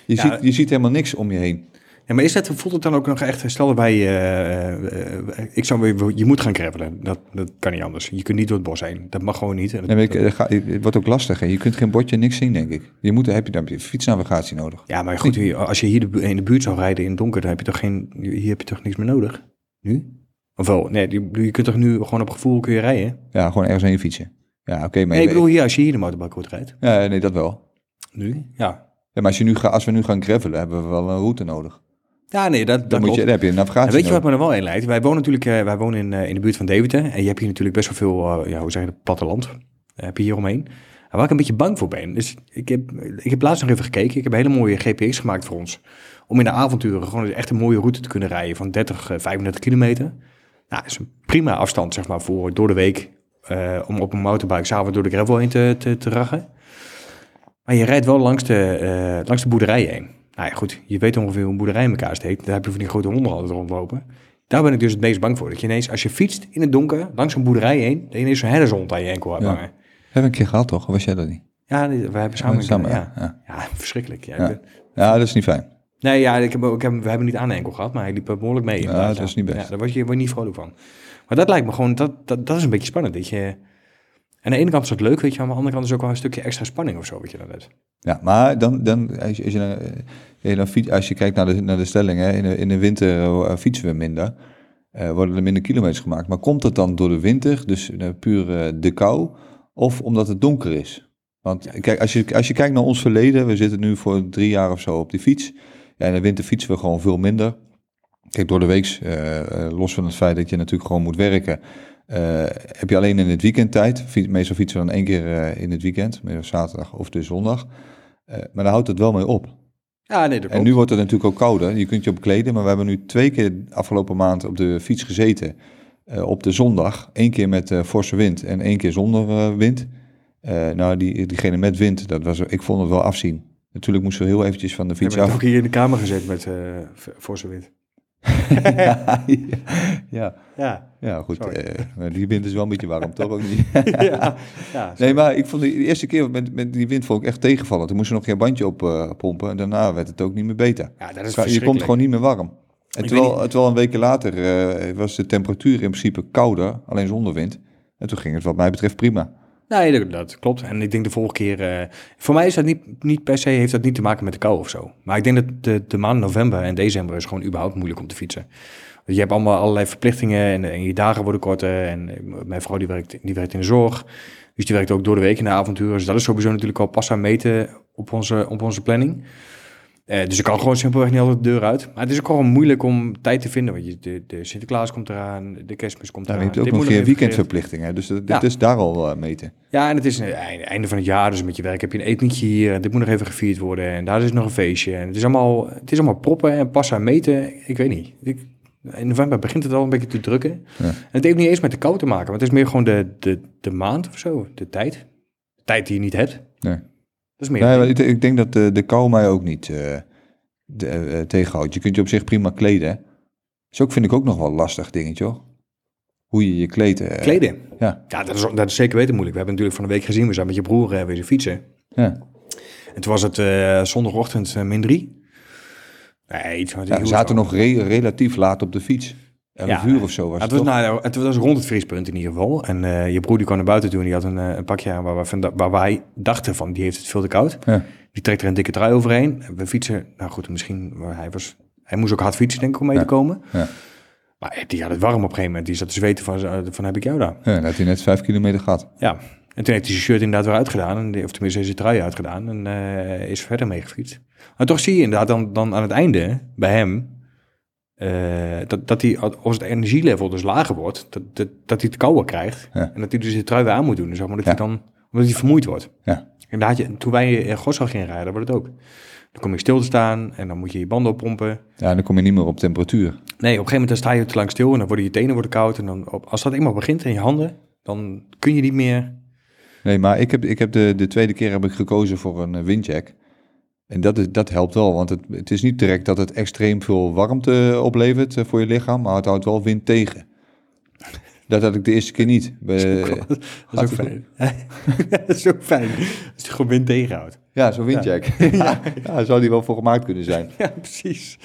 Je, Ja. ziet, je ziet helemaal niks om je heen. Ja, maar is dat, voelt het dan ook nog echt, stel dat wij, eh, eh, ik zou, weer- je moet gaan gravelen, dat, dat kan niet anders. Je kunt niet door het bos heen, dat mag gewoon niet. En Nee, dat- maar ik, eh, ga, het wordt ook lastig. Hè. Je kunt geen bordje, niks zien, denk ik. Je moet, heb je, dan heb je fietsnavigatie nodig. ja, maar goed, hier- als je hier de bu- in de buurt zou rijden in het donker, dan heb je toch geen, hier heb je toch niks meer nodig? Nu? Of wel, nee, je, je kunt toch nu gewoon op gevoel kun je rijden? Nee, Ja, gewoon ergens heen fietsen. Ja, oké. maar ik je- bedoel hier, als je hier de motorbike rijdt. Ja, nee, dat wel. Nu? Ja. Ja, maar als, je nu ga, als we nu gaan gravelen, hebben we wel een route nodig. Ja, nee, dat, dat, Dan, moet je, klopt. dan heb je een En navigatie weet je wat nodig. me er wel in leidt? Wij wonen natuurlijk eh, wij wonen in, eh, in de buurt van Deventer. En je hebt hier natuurlijk best wel veel, eh, ja, hoe zeg je dat, platteland. Eh, heb je hier omheen. En waar ik een beetje bang voor ben, is ik heb, ik heb laatst nog even gekeken. Ik heb een hele mooie GPX gemaakt voor ons. Om in de avonturen gewoon echt een mooie route te kunnen rijden van 30, eh, 35 kilometer. Nou, dat is een prima afstand, zeg maar, voor door de week. eh, om op een motorbike s'avonds door de gravel heen te, te, te raggen. Maar je rijdt wel langs de, eh, langs de boerderij heen. Nou ja, goed, je weet ongeveer hoe een boerderij in elkaar steekt. Daar heb je van die grote honden altijd rondlopen. Daar ben ik dus het meest bang voor. Dat je ineens, als je fietst in het donker, langs een boerderij heen, dat je ineens zo'n herdershond aan je enkel hebt Ja. hangen. Hebben we een keer gehad, toch? Of Was jij dat niet? Ja, die- we hebben samen... Samen, ja. ja. Ja. Ja. verschrikkelijk. Ja. Ja. Ja, dat is niet fijn. Nee, ja, ik heb, ik heb, we hebben niet aan de enkel gehad, maar hij liep eh, behoorlijk mee. inderdaad, dat is niet best. Ja, daar word je, word je niet vrolijk van. Maar dat lijkt me gewoon, dat, dat, dat is een beetje spannend. Dat je, aan de ene kant is dat leuk, weet je, maar aan de andere kant is ook wel een stukje extra spanning of zo, wat je dan hebt. Ja, maar dan, dan, als, je, als, je, dan, eh, je dan fiets- als je kijkt naar de, naar de stelling, hè, in, de, in de winter eh, fietsen we minder, eh, worden er minder kilometers gemaakt. Maar komt dat dan door de winter, dus eh, puur eh, de kou, of omdat het donker is? Want kijk, als je, als je kijkt naar ons verleden, we zitten nu voor drie jaar of zo op die fiets. Ja, in de winter fietsen we gewoon veel minder. Kijk, door de week, los van het feit dat je natuurlijk gewoon moet werken, eh, heb je alleen in het weekend tijd. Fiet- meestal fietsen we dan één keer eh, in het weekend, meestal zaterdag of de zondag. Eh, maar daar houdt het wel mee op. Ja, nee, dat En nu wordt het natuurlijk ook kouder. Je kunt je opkleden, maar we hebben nu twee keer afgelopen maand op de fiets gezeten. eh, op de zondag. Eén keer met eh, forse wind en één keer zonder eh, wind. Eh, nou, die, diegene met wind, dat was, ik vond het wel afzien. Natuurlijk moesten we heel eventjes van de Ik fiets heb af. het ook hier in de kamer gezet met eh voor zijn wind. ja, ja, Ja. ja, goed. Sorry. eh, maar die wind is wel een beetje warm, toch? Ook niet. ja. ja. Nee, maar ik vond die, de eerste keer met, met die wind vond ik echt tegenvallen. Toen moesten we nog geen bandje op eh, pompen en daarna werd het ook niet meer beter. Ja, dat is je komt verschrikkelijk. gewoon niet meer warm. En Ik terwijl, weet terwijl een week later eh, was de temperatuur in principe kouder, alleen zonder wind. En toen ging het wat mij betreft prima. Nee, dat, dat klopt. En ik denk de vorige keer... eh, voor mij is dat niet, niet per se, heeft dat niet te maken met de kou of zo. Maar ik denk dat de, de maand november en december is gewoon überhaupt moeilijk om te fietsen. Want je hebt allemaal allerlei verplichtingen en, en je dagen worden korter. En eh, mijn vrouw die werkt, die werkt in de zorg. Dus die werkt ook door de week in de avonturen. Dus dat is sowieso natuurlijk al pas aan meten op onze, op onze planning. Eh, dus ik kan gewoon simpelweg niet altijd de deur uit. Maar het is ook gewoon moeilijk om tijd te vinden. Want je, de, de Sinterklaas komt eraan, de kerstmis komt Dan eraan. heb je Dit ook nog moet geen even geregeld- weekendverplichting. Hè? Dus dat, dit is daar al eh, meten. ja, en het is een einde, einde van het jaar, dus met je werk heb je een etentje hier. en Dit moet nog even gevierd worden en daar is nog een feestje. En het, is allemaal, het is allemaal proppen en passen en meten. Ik weet niet. Ik, in november begint het al een beetje te drukken. En het heeft niet eens met de kou te maken, want het is meer gewoon de, de, de maand of zo, de tijd. De tijd die je niet hebt. Nee. Dat is meer. Nee, maar ik, ik denk dat eh, de, de kou mij ook niet eh, de, eh, tegenhoudt. Je kunt je op zich prima kleden. Hè? Dus ook vind ik ook nog wel een lastig dingetje hoor. Hoe je je kleedt. eh, Kleden. Ja, Ja, dat is, dat is zeker weten moeilijk. We hebben natuurlijk van een week gezien, we zijn met je broer eh, wezen fietsen. ja. En toen was het eh, zondagochtend eh, min drie. Nee, iets van ja we zaten nog re- relatief laat op de fiets. Elf Ja. uur of zo was Ja, het, het, was, toch? nou, het was rond het vriespunt in ieder geval. En eh, je broer die kwam naar buiten toe en die had een, eh, een pakje aan waar, we van- waar wij dachten van die heeft het veel te koud. Ja. Die trekt er een dikke trui overheen. En We fietsen, nou goed, misschien, maar hij, was, hij moest ook hard fietsen denk ik om mee te komen. Ja. Maar eh, die had het warm op een gegeven moment. Die zat te zweten van, eh, van heb ik jou daar. Ja, dan had hij net vijf kilometer gehad. Ja, en toen heeft hij zijn shirt inderdaad weer uitgedaan. En, die- of tenminste zijn trui uitgedaan en eh, is verder meegefietst. Maar toch zie je inderdaad dan, dan aan het einde bij hem... eh, dat, dat hij, als het energielevel dus lager wordt, dat, dat, dat hij het kouder krijgt. Ja. En dat hij dus de trui weer aan moet doen. Zeg maar, dat Ja. hij dan, omdat hij vermoeid wordt. Ja. En daar had je, toen wij in Gossel gingen rijden, wordt het ook. Dan kom je stil te staan en dan moet je je banden oppompen. Ja, en dan kom je niet meer op temperatuur. Nee, op een gegeven moment dan sta je te lang stil en dan worden je tenen worden koud. En dan op, als dat eenmaal begint in je handen, dan kun je niet meer. Nee, maar ik heb, ik heb de, de tweede keer heb ik gekozen voor een eh, windjack. En dat, is- dat helpt wel, want het, het is niet direct dat het extreem veel warmte oplevert eh, voor je lichaam, maar het houdt wel wind tegen. Dat had ik de eerste keer niet. Bij- Dat is ook Gaat fijn. dat is ook fijn. Als je gewoon wind tegenhoudt. ja, zo'n windjack. Ja. zou die wel voor gemaakt kunnen zijn. Ja, Ja, precies.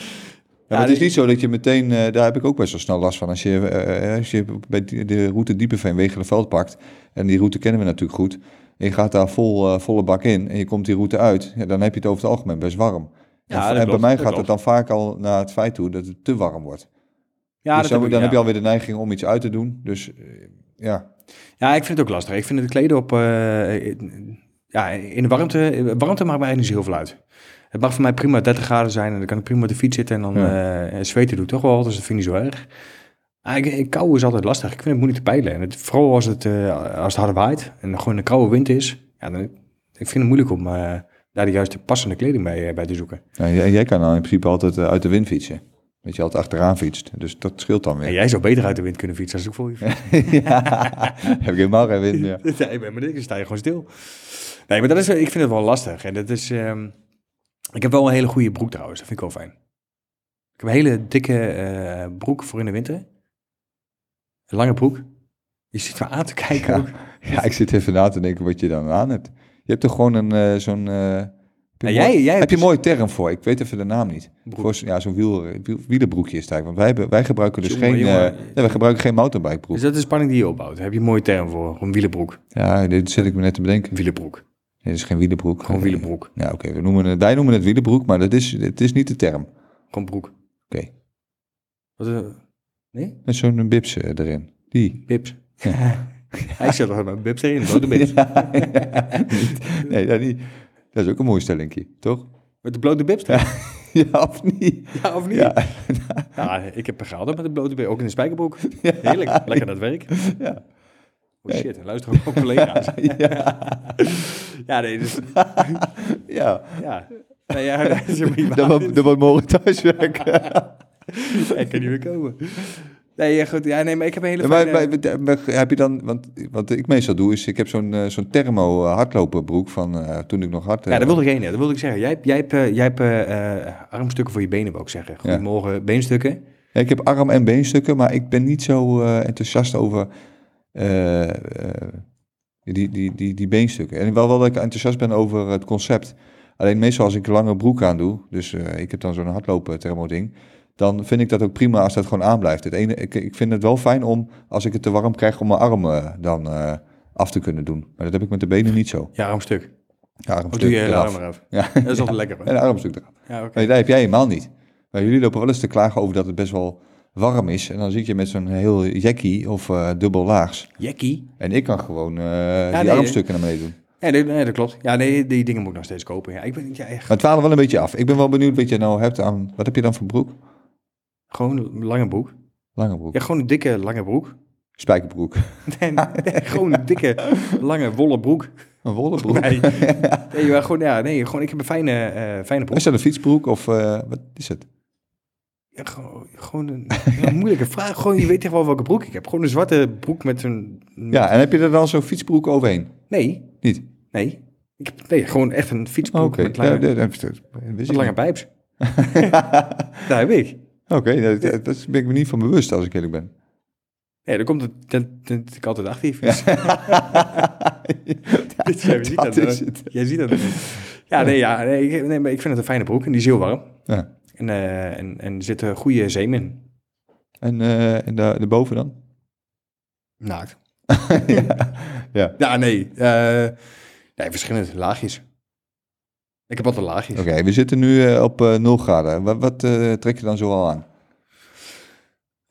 maar Ja, het is die- niet zo dat je meteen, eh, daar heb ik ook best wel snel last van. Als je, eh, als je bij die- de route Diepenveen Wegelenveld pakt, en die route kennen we natuurlijk goed, en je gaat daar vol, eh, volle bak in en je komt die route uit, ja, dan heb je het over het algemeen best warm. Ja, En- dat en klopt, bij mij dat gaat het klopt. dan vaak al naar het feit toe dat het te warm wordt. Ja, dus dat dan, heb ik, dan ja. heb je alweer de neiging om iets uit te doen. Dus eh, ja, Ja, ik vind het ook lastig. Ik vind het kleden op... eh, ja, in de warmte... Warmte maakt mij eigenlijk niet zo heel veel uit. Het mag voor mij prima 30 graden zijn en dan kan ik prima op de fiets zitten en dan eh, zweten doe ik toch wel, dus dat vind ik niet zo erg. Ah, ik- ik- kou is altijd lastig. Ik vind het moeilijk te peilen. En het, vooral als het, eh, als het hard waait en gewoon een koude wind is. Ja, dan, ik vind het moeilijk om eh, daar de juiste passende kleding bij, eh, bij te zoeken. nou, jij, jij kan dan in principe altijd eh, uit de wind fietsen. Dat je altijd achteraan fietst. Dus dat scheelt dan En weer. jij zou beter uit de wind kunnen fietsen als ik voor je fiets. heb ik helemaal geen wind meer. nee, maar niks, dan sta je gewoon stil. Nee, maar dat is, ik vind het wel lastig. En dat is, ehm, ik heb wel een hele goede broek trouwens, dat vind ik wel fijn. Ik heb een hele dikke eh, broek voor in de winter. Een lange broek. Je zit me aan te kijken Ja. ook. Ja, ik zit even na te denken wat je dan aan hebt. Je hebt toch gewoon een eh, zo'n... eh, heb je Nou, een mooi- jij- jij heb hebt je een dus- mooie term voor? Ik weet even de naam niet. Broek. Voor, zo'n- ja, zo'n wiel, wiel- wielerbroekje is het eigenlijk. Want wij, hebben- wij gebruiken dus Jongen, geen... eh, jongen. nee, wij gebruiken geen mountainbikebroek. Dus dat is de spanning die je opbouwt. Daar heb je een mooie term voor. Een wielenbroek. Ja, dit zit ik me net te bedenken. Een wielenbroek. Nee, dit is geen wielenbroek. Gewoon wielenbroek. Ja, oké. we noemen het- Wij noemen het wielenbroek, maar dat is, het is niet de term. Oké. Gewoon broek. Wat, eh, nee? Met zo'n bips eh, erin. Die. Bips. Hij zat er met bips erin. Blote bips. Ja, ja. nee, dat niet. Dat is ook een mooi stellingje, toch? Met de blote bips erin. Ja, of niet? Ja, of niet? Ja. Ja, ik heb gehaald met een blote been, ook in een spijkerbroek. Heerlijk, lekker naar het werk. Ja. Oh shit, en luister ook mijn collega's. Ja, nee, dus... ja. Ja. Nee, ja, dat is een Dat wordt, dat wordt morgen thuiswerken. Ik kan niet meer komen. Nee, ja, goed. Ja, nee, maar ik heb een eh, Ja, hele maar, fijne... maar- maar- maar heb je dan, want wat ik meestal doe is, ik heb zo'n eh, zo'n thermo eh, hardloperbroek van eh, toen ik nog hard. eh, ja, dat wilde ik heen. hè. Dat wilde ik zeggen. Jij, hebt- jij hebt, eh, jij hebt eh, eh, armstukken voor je benen, wou ik zeggen. Goedemorgen, beenstukken. Ja, ik heb arm- en beenstukken, maar ik ben niet zo eh, enthousiast over eh, eh, die, die, die, die beenstukken. En wel wel dat ik enthousiast ben over het concept. Alleen meestal als ik een lange broek aan doe, dus eh, ik heb dan zo'n hardlopen thermo ding, dan vind ik dat ook prima als dat gewoon aanblijft. Het ene, ik, ik vind het wel fijn om, als ik het te warm krijg, om mijn arm eh, dan eh, af te kunnen doen. Maar dat heb ik met de benen niet zo. Ja, armstuk. Ja, Wat armstuk doe je hele eraf. arm eraf? Ja, Dat is altijd lekker, hoor. en een armstuk eraf. Ja, oké. Nee, dat heb jij helemaal niet. Maar jullie lopen wel eens te klagen over dat het best wel warm is. En dan zit je met zo'n heel jackie of eh, dubbel laags. Jekkie. En ik kan gewoon eh, die nee. armstukken naar beneden doen. Ja, nee, nee, dat klopt. Ja, nee, die dingen moet ik nog steeds kopen. Ja, ik ben ja, echt Maar het dwalen wel een beetje af. Ik ben wel benieuwd wat je nou hebt aan... Wat heb je dan voor broek? gewoon een lange broek. Lange broek. Ja, gewoon een dikke, lange broek. Spijkerbroek. Nee, nee, gewoon een dikke, lange, wollen broek. Een wollen broek. Nee, nee, maar gewoon, ja, nee gewoon, ik heb een fijne, eh fijne broek. Is dat een fietsbroek of eh, wat is het? Ja, gewoon, gewoon een, een moeilijke vraag. Gewoon, je weet echt wel welke broek ik heb. Gewoon een zwarte broek met een... Ja, en heb je er dan zo'n fietsbroek overheen? Nee, Niet? nee. Ik heb, nee, gewoon echt een Oké. fietsbroek met lange, Ja, dat- dat- dat- wist met ik lange niet. pijps. Daar heb ik. Oké, dat dat- daar ben ik me niet van bewust als ik eerlijk ben. Nee, daar komt het, dat, dat ik altijd Dus actief is. Dit- jij ziet dat dat, is hoor. het. Jij ziet dat. niet. Ja, nee, ja, nee, ik- nee, maar ik vind het een fijne broek en die is heel warm. Ja. En, eh, en, en er zitten goede zeem in. En, eh en daar, daarboven dan? Naakt. ja. ja. Ja, nee. eh, nee, verschillende laagjes. Ik heb altijd laagjes. Oké, we zitten nu eh, op eh 0 graden. Wat, wat eh, trek je dan zoal aan?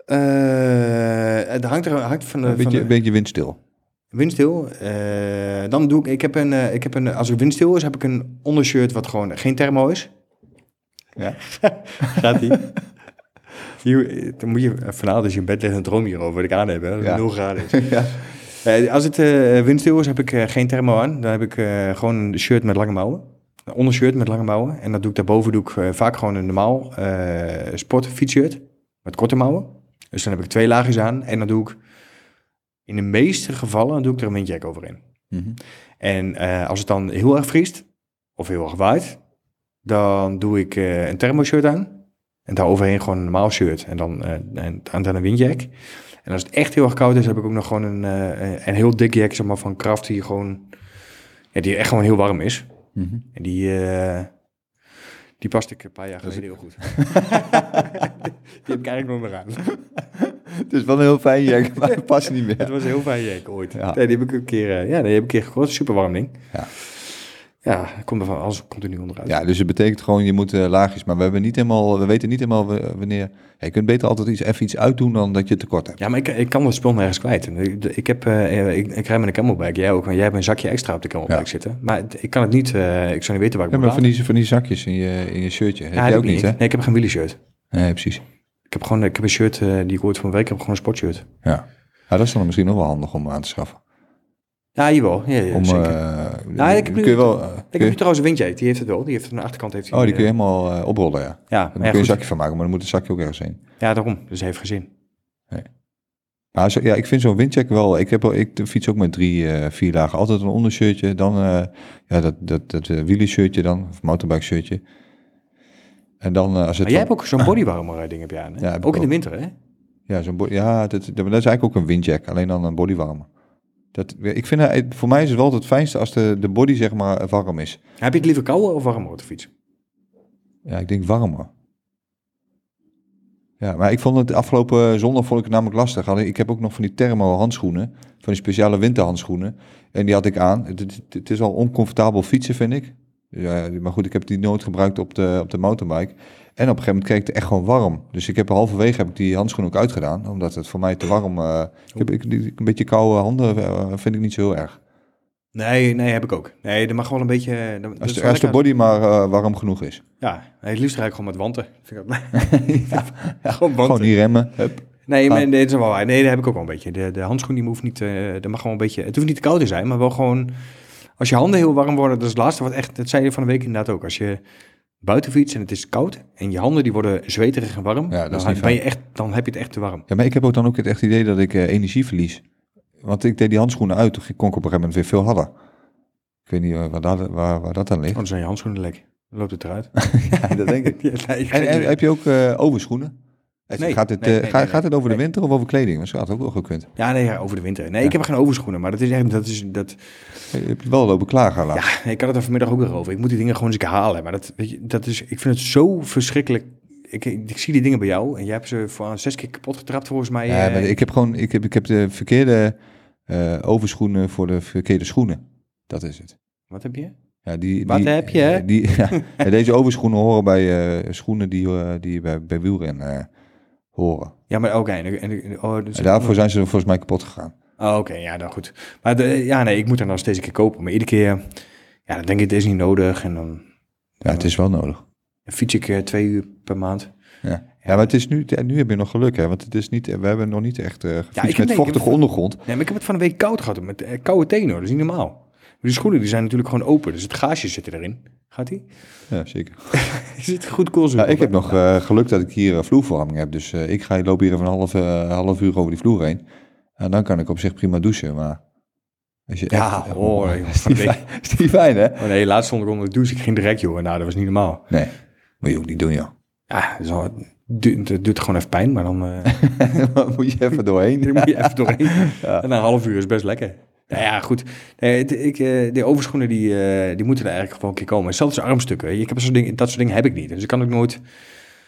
Eh, het hangt, er, hangt van de, Een beetje, van de beetje windstil. windstil. Eh, dan doe ik, ik heb een, eh, ik heb een, als er windstil is, heb ik een ondershirt wat gewoon geen thermo is. Ja. Gaat die? dan moet je, eh, vanavond als je in bed ligt, een droom hierover, dat ik aan heb, hè, dat het Ja. 0 graden is. ja. Eh, als het eh windstil is, heb ik eh, geen thermo aan. Dan heb ik eh, gewoon een shirt met lange mouwen. Een ondershirt met lange mouwen. En dat doe ik daarboven doe ik eh, vaak gewoon een normaal eh sportfietsshirt met korte mouwen. Dus dan heb ik twee laagjes aan. En dan doe ik in de meeste gevallen doe ik er een windjack overheen. Mhm. En eh, als het dan heel erg vriest of heel erg waait, dan doe ik eh, een thermoshirt aan. En daar overheen gewoon een normaal shirt. En dan, eh, en, en dan een windjack. En als het echt heel erg koud is, heb ik ook nog gewoon een, eh, een heel dik jack zeg maar, van Kraft die gewoon, ja, die echt gewoon heel warm is. Mhm. En die, eh, die past ik een paar jaar is- geleden heel goed. die heb ik eigenlijk nooit meer aan. Het is wel een heel fijn jack, maar het past niet Het meer. was een heel fijn jack ooit. Ja. Nee, die heb ik een keer, eh, ja, die heb ik een keer gekocht. Super warm ding. Ja. Ja, komt er van alles komt er nu onderuit. Ja, dus het betekent gewoon, je moet eh, laagjes, maar we, hebben niet helemaal, we weten niet helemaal w- wanneer... Ja, je kunt beter altijd iets, even iets uitdoen dan dat je tekort hebt. Ja, maar ik, ik kan dat spul nergens kwijt. Ik, ik, heb, eh, ik, ik rij met een camelback, jij ook, want jij hebt een zakje extra op de camelback Ja. zitten. Maar het- ik kan het niet, eh, ik zou niet weten waar ik Ja, moet maar van laten. die, van die zakjes in je, in je shirtje, heb Ja, jij dat ook niet, hè? Nee, ik heb geen wielershirt. Nee, precies. Ik heb gewoon ik heb een shirt eh, die ik ooit van werk heb, gewoon een sportshirt. Ja. ja, dat is dan misschien nog wel handig om aan te schaffen. Ja, jawel. Ja, ja, Om, zeker. eh, Nou, ik heb kun nu- je wel, eh, ik kun heb je- nu trouwens een windje, die heeft het wel. Die heeft aan de achterkant heeft hij, oh, die kun je eh, helemaal eh, oprollen, ja. Ja, Daar maar kun je ja, een goed. zakje van maken, maar dan moet het zakje ook ergens heen. ja, daarom. Dus hij heeft gezin. Ja, zo- ja, ik vind zo'n windcheck wel. Ik, heb, wel- ik fiets ook met drie, eh, vier dagen. Altijd een ondershirtje, dan eh, ja, dat, dat, dat eh, wielershirtje dan, of mountainbike shirtje. En dan eh, als het... Maar Ah, jij dan- hebt ook zo'n bodywarmer eh, ding heb je aan, hè? Ja, heb ik ook in de ook. winter, hè? Ja, zo'n bo- ja dat, dat, maar dat is eigenlijk ook een windjack, alleen dan een bodywarmer. Dat, ik vind, eh, voor mij is het wel altijd het fijnste als de, de body zeg maar eh, warm is. Heb je het liever koude of warme op de fiets? Ja, ik denk warmer. Ja, maar ik vond het afgelopen zondag vond ik het namelijk lastig. Alleen, Ik heb ook nog van die thermo handschoenen, van die speciale winterhandschoenen. En die had ik aan. Het, het, het is al oncomfortabel fietsen, vind ik. Ja, maar goed, ik heb die nooit gebruikt op de, op de mountainbike. En op een gegeven moment kreeg ik het echt gewoon warm. Dus ik heb halverwege heb ik die handschoen ook uitgedaan, omdat het voor mij te warm... eh ik heb ik, die- een beetje koude handen eh, vind ik niet zo heel erg. Nee, nee, heb ik ook. Nee, er mag wel een beetje... eh, dat- dat is Als de, wel als de lekker. body maar eh, warm genoeg is. Ja, nee, het liefst rijd ik gewoon met wanten. Vind ik dat... gewoon wanten. Gewoon niet remmen. Eh, Hup. nee, gaan. maar, nee, dat is wel waar. Nee, dat heb ik ook wel een beetje. De, de handschoen die hoeft niet, eh dat mag gewoon een beetje... Het hoeft niet te koud te zijn, maar wel gewoon... Als je handen heel warm worden, dat is het laatste wat echt... Dat zei je van de week inderdaad ook. Als je buiten fietst en het is koud en je handen die worden zweterig en warm... Ja, dat is dan, niet ben fijn. je echt, dan heb je het echt te warm. Ja, maar ik heb ook dan ook het echt idee dat ik eh, energie verlies. Want ik deed die handschoenen uit, toen ging- kon ik op een gegeven moment weer veel harder. Ik weet niet eh, waar dat, waar, waar dat aan ligt. Anders zijn je handschoenen lek. Dan loopt het eruit. dat denk ik. Ja, Oh, nee, En, en heb je ook eh, overschoenen? Het- Nee, gaat, het, nee, eh, nee, ga- nee, gaat het over de nee. winter of over kleding? Want dat had ook wel gekund. Ja, nee, ja, over de winter. Nee, Ja. ik heb geen overschoenen, maar dat is echt... Dat is, dat, Je hebt wel lopen klagen laten. Ja, ik had het er vanmiddag ook weer over. Ik moet die dingen gewoon eens een keer halen. Maar dat, weet je, dat is, ik vind het zo verschrikkelijk. Ik, ik zie die dingen bij jou en jij hebt ze voor aan zes keer kapot getrapt volgens mij. Ja, eh. maar ik heb gewoon ik heb, ik heb de verkeerde eh, overschoenen voor de verkeerde schoenen. Dat is het. Wat heb je? Ja, die, Wat die- heb je, hè? Die, ja, ja, deze overschoenen horen bij eh, schoenen die, eh, die bij, bij wielrennen eh, horen. Ja, maar oké. en- en- en- oh, dus- En daarvoor zijn ze volgens mij kapot gegaan. Oh, oké, ja, dan goed. Maar de, ja, nee, ik moet er nou steeds een keer kopen. Maar iedere keer, ja, dan denk ik, het is niet nodig. En dan Ja, het is wel nodig. fiets ik eh, twee uur per maand. Ja, ja maar het is nu, nu heb je nog geluk, hè? Want het is niet, we hebben nog niet echt eh gefietst ik heb- met nee, ik vochtige heb- ondergrond. Nee, maar ik heb het van een week koud gehad. Met eh, koude tenen, hoor. dat is niet normaal. Die schoenen die zijn natuurlijk gewoon open, dus het gaasje zit erin. Gaat die? Ja, zeker. Is het goed koolzuur? Ja, ik heb nog eh, geluk dat ik hier eh, vloerverwarming heb. Dus eh, ik ga loop hier even een half, eh, half uur over die vloer heen. En dan kan ik op zich prima douchen, maar... Als je Ja, echt- hoor. Is die fijn, is die fijn, hè? Oh nee, laatst stond ik onder de douche. Ik ging direct, joh. Nou, dat was niet normaal. Nee, moet je ook niet doen, joh. Ja, dat is wel- het du- het doet gewoon even pijn, maar dan eh, Dan moet je even dan doorheen. moet je even doorheen. En na een half uur is best lekker. Nou ja, goed. Nee, het- ik, eh, die overschoenen, die, eh, die moeten er eigenlijk gewoon een keer komen. Zelfs armstukken. weet je. Ik heb zo'n ding, dat soort dingen heb ik niet. Dus ik kan ook nooit...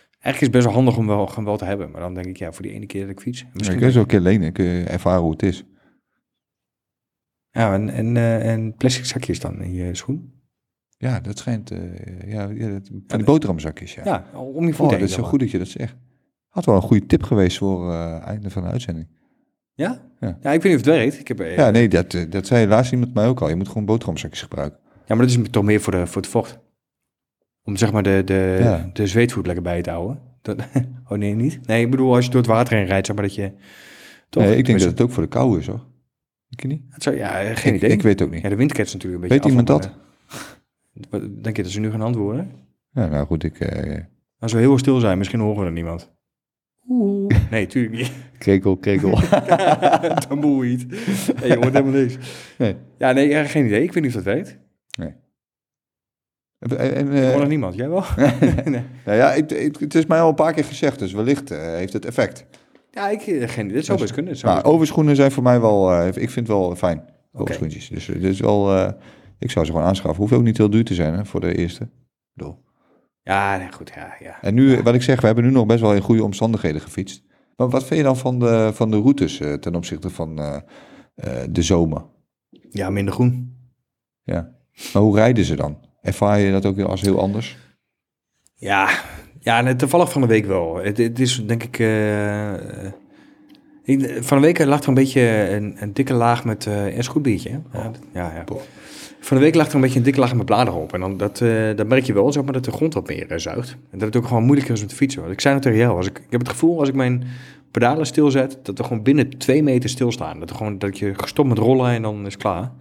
Eigenlijk is het best wel handig om wel, gewoon wel te hebben. Maar dan denk ik, ja, voor die ene keer dat ik fiets. Misschien Misschien kun je zo een keer lenen, kun je ervaren hoe het is. Ja, en, en, eh, en plastic zakjes dan in je schoen. Ja, dat schijnt... eh, ja, ja, dat, van die boterhamzakjes, ja. Ja, om je voet Oh, heen. dat is zeg zo maar. goed dat je dat zegt. Had wel een goede tip geweest voor eh einde van de uitzending. Ja? Ja. ja? ik weet niet of het werkt. Ik heb, eh, Ja, nee, dat, eh, dat zei helaas iemand mij ook al. Je moet gewoon boterhamzakjes gebruiken. Ja, maar dat is toch meer voor, de, voor het vocht. Om zeg maar de, de, Ja. de zweetvoet lekker bij te houden. Dat, oh nee, niet? Nee, ik bedoel, als je door het water heen rijdt, zeg maar dat je... Toch? nee, ik denk dat Tenminste, het ook voor de kou is, hoor. Ik niet? het zou- ja, geen ik, idee. Ik weet ook niet. Ja, de wind ketst natuurlijk een beetje weet af, iemand maar, dat? eh, Wat- Denk je dat ze nu gaan antwoorden? Ja, nou goed, ik eh Als we heel stil zijn, misschien horen we er niemand. Oeh. Nee, tuurlijk niet. krekel, krekel. Tamboerwiet. Nee, je hoort helemaal niks. Nee. Ja, nee, ja, geen idee. Ik weet niet of dat werkt. Ik en, en, eh, hoor nog niemand. Jij wel? nee. nou ja, het, het- het is mij al een paar keer gezegd, dus wellicht eh, heeft het effect. Ja, ik, eh, geen, dit zou best kunnen. Dit zou Maar best overschoenen zijn voor mij wel, eh, ik vind het wel fijn, overschoentjes. Dus eh, dit is wel, eh, ik zou ze gewoon aanschaffen. Hoeft ook niet heel duur te zijn hè, voor de eerste. Ja, nee, goed. Ja, ja. En nu, wat ik zeg, we hebben nu nog best wel in goede omstandigheden gefietst. Maar wat vind je dan van de, van de routes eh, ten opzichte van eh, eh, de zomer? ja, minder groen. Ja. Maar hoe rijden ze dan? Ervaar je dat ook als heel anders? Ja, ja nee, toevallig van de week wel. Het, het is denk ik... eh, eh, ik- van de week lag er een beetje een, een dikke laag met... eh is goed biertje, hè? Ja, dat- ja, ja. Boah. Van de week lag er een beetje een dikke laag met bladeren op. En dan, dat, eh, dat merk je wel, zeg maar, dat de grond wat meer eh, zuigt. En dat het ook gewoon moeilijker is om te fietsen. Want ik zei het tegen jou, als ik, ik heb het gevoel als ik mijn pedalen stilzet... dat we gewoon binnen twee meter stilstaan. Dat, er gewoon, dat je gestopt met rollen en dan is het klaar.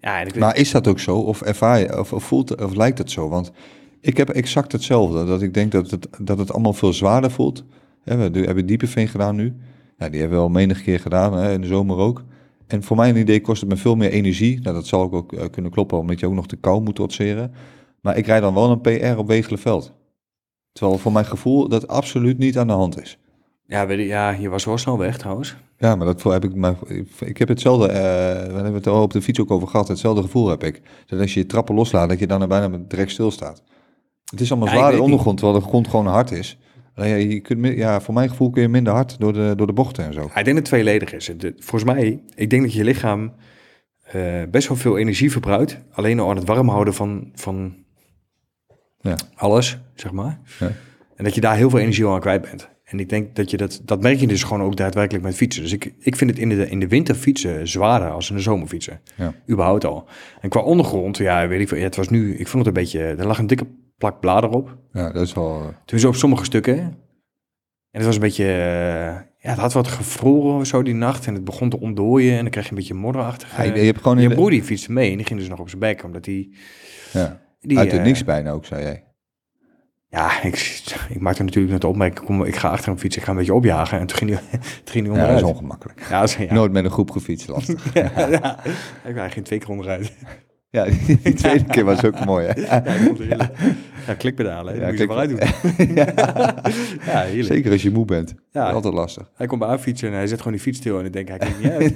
Ja, en ik weet- Maar is dat ook zo? Of ervaar je, of, of voelt, of lijkt het zo? Want ik heb exact hetzelfde. Dat ik denk dat het, dat het allemaal veel zwaarder voelt. Hè, We do- hebben Diepeveen gedaan nu. Ja, die hebben we al menig keer gedaan, hè, in de zomer ook. En voor mijn idee kost het me veel meer energie. Nou, dat zal ook, ook eh, kunnen kloppen, omdat je ook nog de kou moet trotseren. Maar ik rijd dan wel een PR op Wegelenveld. Terwijl voor mijn gevoel dat absoluut niet aan de hand is. ja, weet ik- ja, je was wel snel weg trouwens. Ja, maar dat gevoel heb ik. Maar ik heb hetzelfde. eh we hebben het er al op de fiets ook over gehad. Hetzelfde gevoel heb ik. Dat als je je trappen loslaat, dat je dan er bijna direct stilstaat. Het is allemaal Ja, ik zwaar in de weet niet. ondergrond, terwijl de grond gewoon hard is. Alleen ja, je kunt, mi- ja, voor mijn gevoel kun je minder hard door de, door de bochten en zo. Ja, Ik denk dat het tweeledig is. De- volgens mij, ik denk dat je lichaam eh, best wel veel energie verbruikt. Alleen al aan het warm houden van, van Ja. alles, zeg maar. Ja. En dat je daar heel veel energie al aan kwijt bent. En ik denk dat je dat, dat merk je dus gewoon ook daadwerkelijk met fietsen. Dus ik, ik vind het in de, in de winter fietsen zwaarder als in de zomer fietsen. Ja. Überhaupt al. En qua ondergrond, ja, weet ik veel. Ja, het was nu, ik vond het een beetje, er lag een dikke plak blader op. Ja, dat is wel. eh, Tenminste, op sommige stukken. En het was een beetje... eh, ja, het had wat gevroren of zo die nacht. En het begon te ontdooien. En dan kreeg je een beetje modderachtig. ja, je, eh, je hebt gewoon in je de- broer die fietste mee en die ging dus nog op zijn bek. Omdat die... ja, die uit het eh, niks bijna ook, zei jij. Ja, ik, ik maakte natuurlijk net de opmerking. Kom, ik ga achter hem fietsen. Ik ga een beetje opjagen. En toen ging hij, toen ging hij Ja, dat onderuit. is ongemakkelijk. Ja, dat is- ja. Nooit met een groep gefietst, lastig. ja, ja. Ik ben geen twee keer onderuit. ja, die tweede keer was ook mooi. Hè? Ja, ik vond het heerlijk. Ja, klikpedalen. Ja, Ja, moet je klik- eruit doen. ja, heerlijk. Zeker als je moe bent. Ja. Altijd lastig. Hij komt bij haar fietsen en hij zet gewoon die fiets stil. En ik denk, hij kijkt niet uit.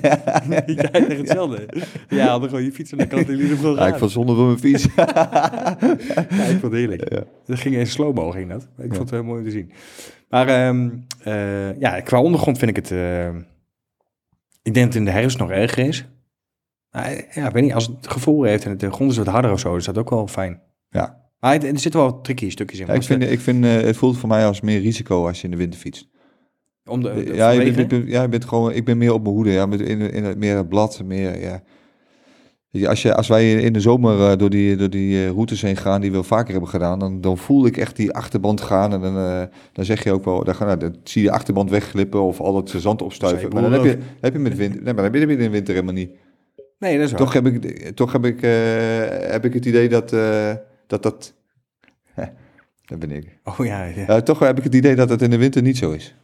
Je kijkt echt hetzelfde. Ja, haal dan gewoon je fiets en dan kan het in ieder geval Ja, ik raar. val zonder van mijn fiets. Ja, ik vond het heerlijk. Ja. Dat ging in slow-mo, ging dat. Ik Ja. vond het heel mooi om te zien. Maar ehm, eh, ja, qua ondergrond vind ik het... ehm, ik denk dat het in de herfst nog erger is. Maar, eh, ja, ik weet niet, als het gevoel heeft en het, de grond is wat harder of zo, is dat ook wel fijn. Ja. Maar het- er zitten wel tricky stukjes in. Ja, ik want ze- vind, ik vind eh, het voelt voor mij als meer risico als je in de winter fietst. om de, de- ja, je Oh, vanwege- bent, je bent- ja, je bent gewoon, ik ben meer op mijn hoede. Ja, met in, in het, meer het blad, meer, ja. Weet je, Als, je, als wij in de zomer eh, door die, door die eh, routes heen gaan, die we vaker hebben gedaan, dan, dan voel ik echt die achterband gaan. En dan, eh, dan zeg je ook wel, dan, ga- nou, dan zie je de achterband wegglippen of al dat zand opstuiven. Zei Maar dan heb Boer je, heb je met winter, nee, maar dan heb je het in de winter helemaal niet. Nee, dat is waar. Toch, heb ik, toch heb, ik, eh, heb ik het idee dat eh, dat. dat dat ben ik. Oh ja, ja. Eh, toch heb ik het idee dat het in de winter niet zo is.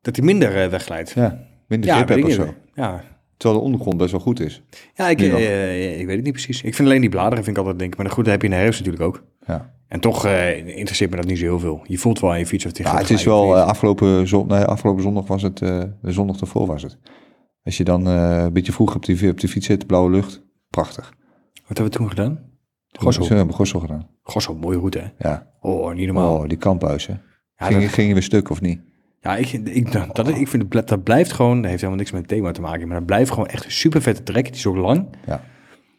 dat hij minder eh, wegglijdt. Ja, minder ja, grip weet heb ik of niet. zo. Ja, Terwijl de ondergrond best wel goed is. Ja, ik, Nu nog. eh, ik weet het niet precies. Ik vind alleen die bladeren vind ik altijd denk. Maar goed, dat heb je in de herfst natuurlijk ook. Ja. En toch eh, interesseert me dat niet zo heel veel. Je voelt wel aan je fiets of die Ja, gaat het is glijden. wel eh, afgelopen, zon, nee, afgelopen zondag was het, eh, de zondag ervoor was het. Als je dan eh, een beetje vroeg op die, op die fiets zit, blauwe lucht, prachtig. Wat hebben we toen gedaan? Gossel. Gossel. We hebben Gossel gedaan. Gossel, mooie route hè? Ja. Oh, niet normaal. Oh, die kamphuizen. Ja, Ging, dat- ging je weer stuk of niet? Ja, ik, ik, dat, dat- ik vind dat, dat blijft gewoon... Dat heeft helemaal niks met het thema te maken. Maar dat blijft gewoon echt een super vette trek. Die is ook lang. Ja.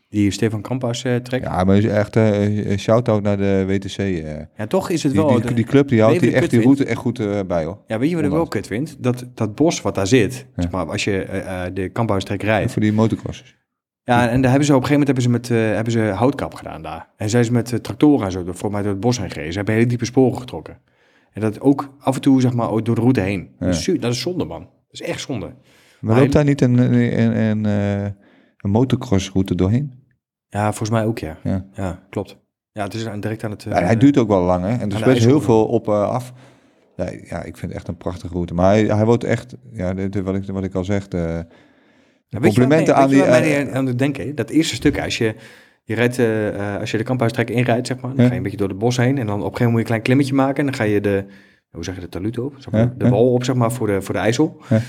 Die Stefan Kampas eh trek. Ja. Ja, maar het is echt eh, een shout-out naar de WTC. eh. toch is het Die, wel... die, de- die club die houdt Leven die de echt die kutwind. route echt goed eh, bij hoor. ja, weet je wat ik wel Ondanks. kut vind? Dat, dat bos wat daar zit. zeg maar als je eh, eh, de kamphuistrek rijdt. Voor die motocrossers. Ja, en daar hebben ze op een gegeven moment hebben ze, met, eh, hebben ze houtkap gedaan daar. En zijn ze met eh, tractoren en zo, door- volgens mij door het bos heen gereden. Ze hebben hele diepe sporen getrokken. En dat ook af en toe, zeg maar, ook door de route heen. Dat, is, zu- dat is zonde, man. Dat is echt zonde. Maar Maar loopt daar niet een, een, een, een, eh, een motocrossroute doorheen? Ja, volgens mij ook, ja. Ja. Ja, klopt. Ja, het is aan- direct aan het... eh, Ja, hij duurt ook wel lang, hè? En er is de best heel ijshoek. veel op eh, af. Ja, ja, ik vind het echt een prachtige route. Maar hij, hij wordt echt, ja, dit, wat, ik, wat ik al zeg, eh, Ja, weet je complimenten wat- nee, aan weet je die, waar eh, mij aan het denken. Dat eerste stuk, als je, je rijdt, eh, eh, als je de kamphuistrek inrijdt, zeg maar, dan Ja. ga je een beetje door het bos heen. En dan op een gegeven moment moet je een klein klimmetje maken. En dan ga je de, hoe zeg je de talud op? Zeg maar, Ja, de ja. wal op, zeg maar, voor de, voor de IJssel. Ja.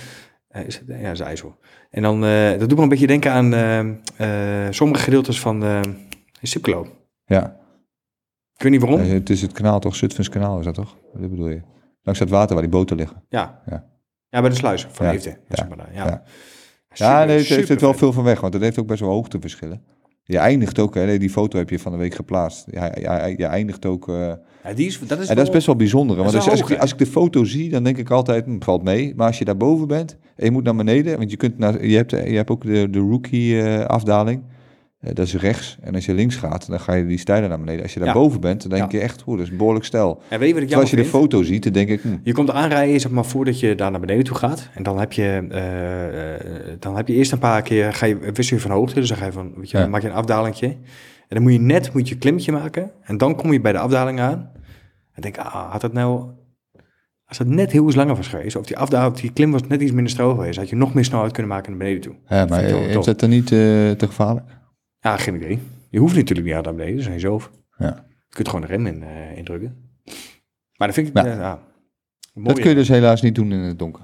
Eh, is het, ja, is de IJssel. En dan, eh, dat doet me een beetje denken aan eh, eh, sommige gedeeltes van eh Sipkelo. ja, Ik weet niet waarom. eh, het is het kanaal toch, Zutphens kanaal is dat toch? Wat bedoel je? Langs dat water waar die boten liggen. Ja. Ja. ja. bij de sluis van Ja, Eefde. ja, Zeg maar, daar, ja. ja. Super, ja, nee, het heeft super het wel vet. veel van weg, want het heeft ook best wel hoogteverschillen. Je eindigt ook, hè, nee, die foto heb je van de week geplaatst. Je, je, je eindigt ook... eh, Ja, die is, dat is, En dat is best wel bijzonder. hè, Dat Want is als, als, wel hoog, ik, hè? als ik de foto zie, dan denk ik altijd, hm, valt mee. Maar als je daarboven bent en je moet naar beneden, want je, kunt naar, je, hebt, je hebt ook de, de rookie-afdaling. Eh, dat is rechts. En als je links gaat, dan ga je die stijlen naar beneden. Als je Ja. daarboven bent, dan denk Ja. je echt, oeh, dat is een behoorlijk stijl. En weet je wat Terwijl ik jammer als je de vind? foto ziet, dan denk ik, hm, Je komt aanrijden, zeg maar, voordat je daar naar beneden toe gaat. En dan heb je, eh, eh, dan heb je eerst een paar keer, ga je, wissel je van hoogte. Dus dan ga je van, weet je, Ja. dan maak je een afdalingje. En dan moet je net, moet je een klimmetje maken. En dan kom je bij de afdaling aan. En denk, ah, had dat nou, als dat net heel iets langer was geweest. Of die afdaling, of die klim was net iets minder stroog geweest. Had je nog meer snelheid kunnen maken naar beneden toe. ja, Vind maar ik wel heeft tof. dat dan niet eh, te gevaarlijk? Ja, geen idee. Je hoeft natuurlijk niet hard naar beneden, dat is aan jezelf. Ja. Je kunt gewoon de rem in, eh, indrukken. Maar dat vind ik, Ja. ja, ja, mooi, Dat kun je dus helaas niet doen in het donker.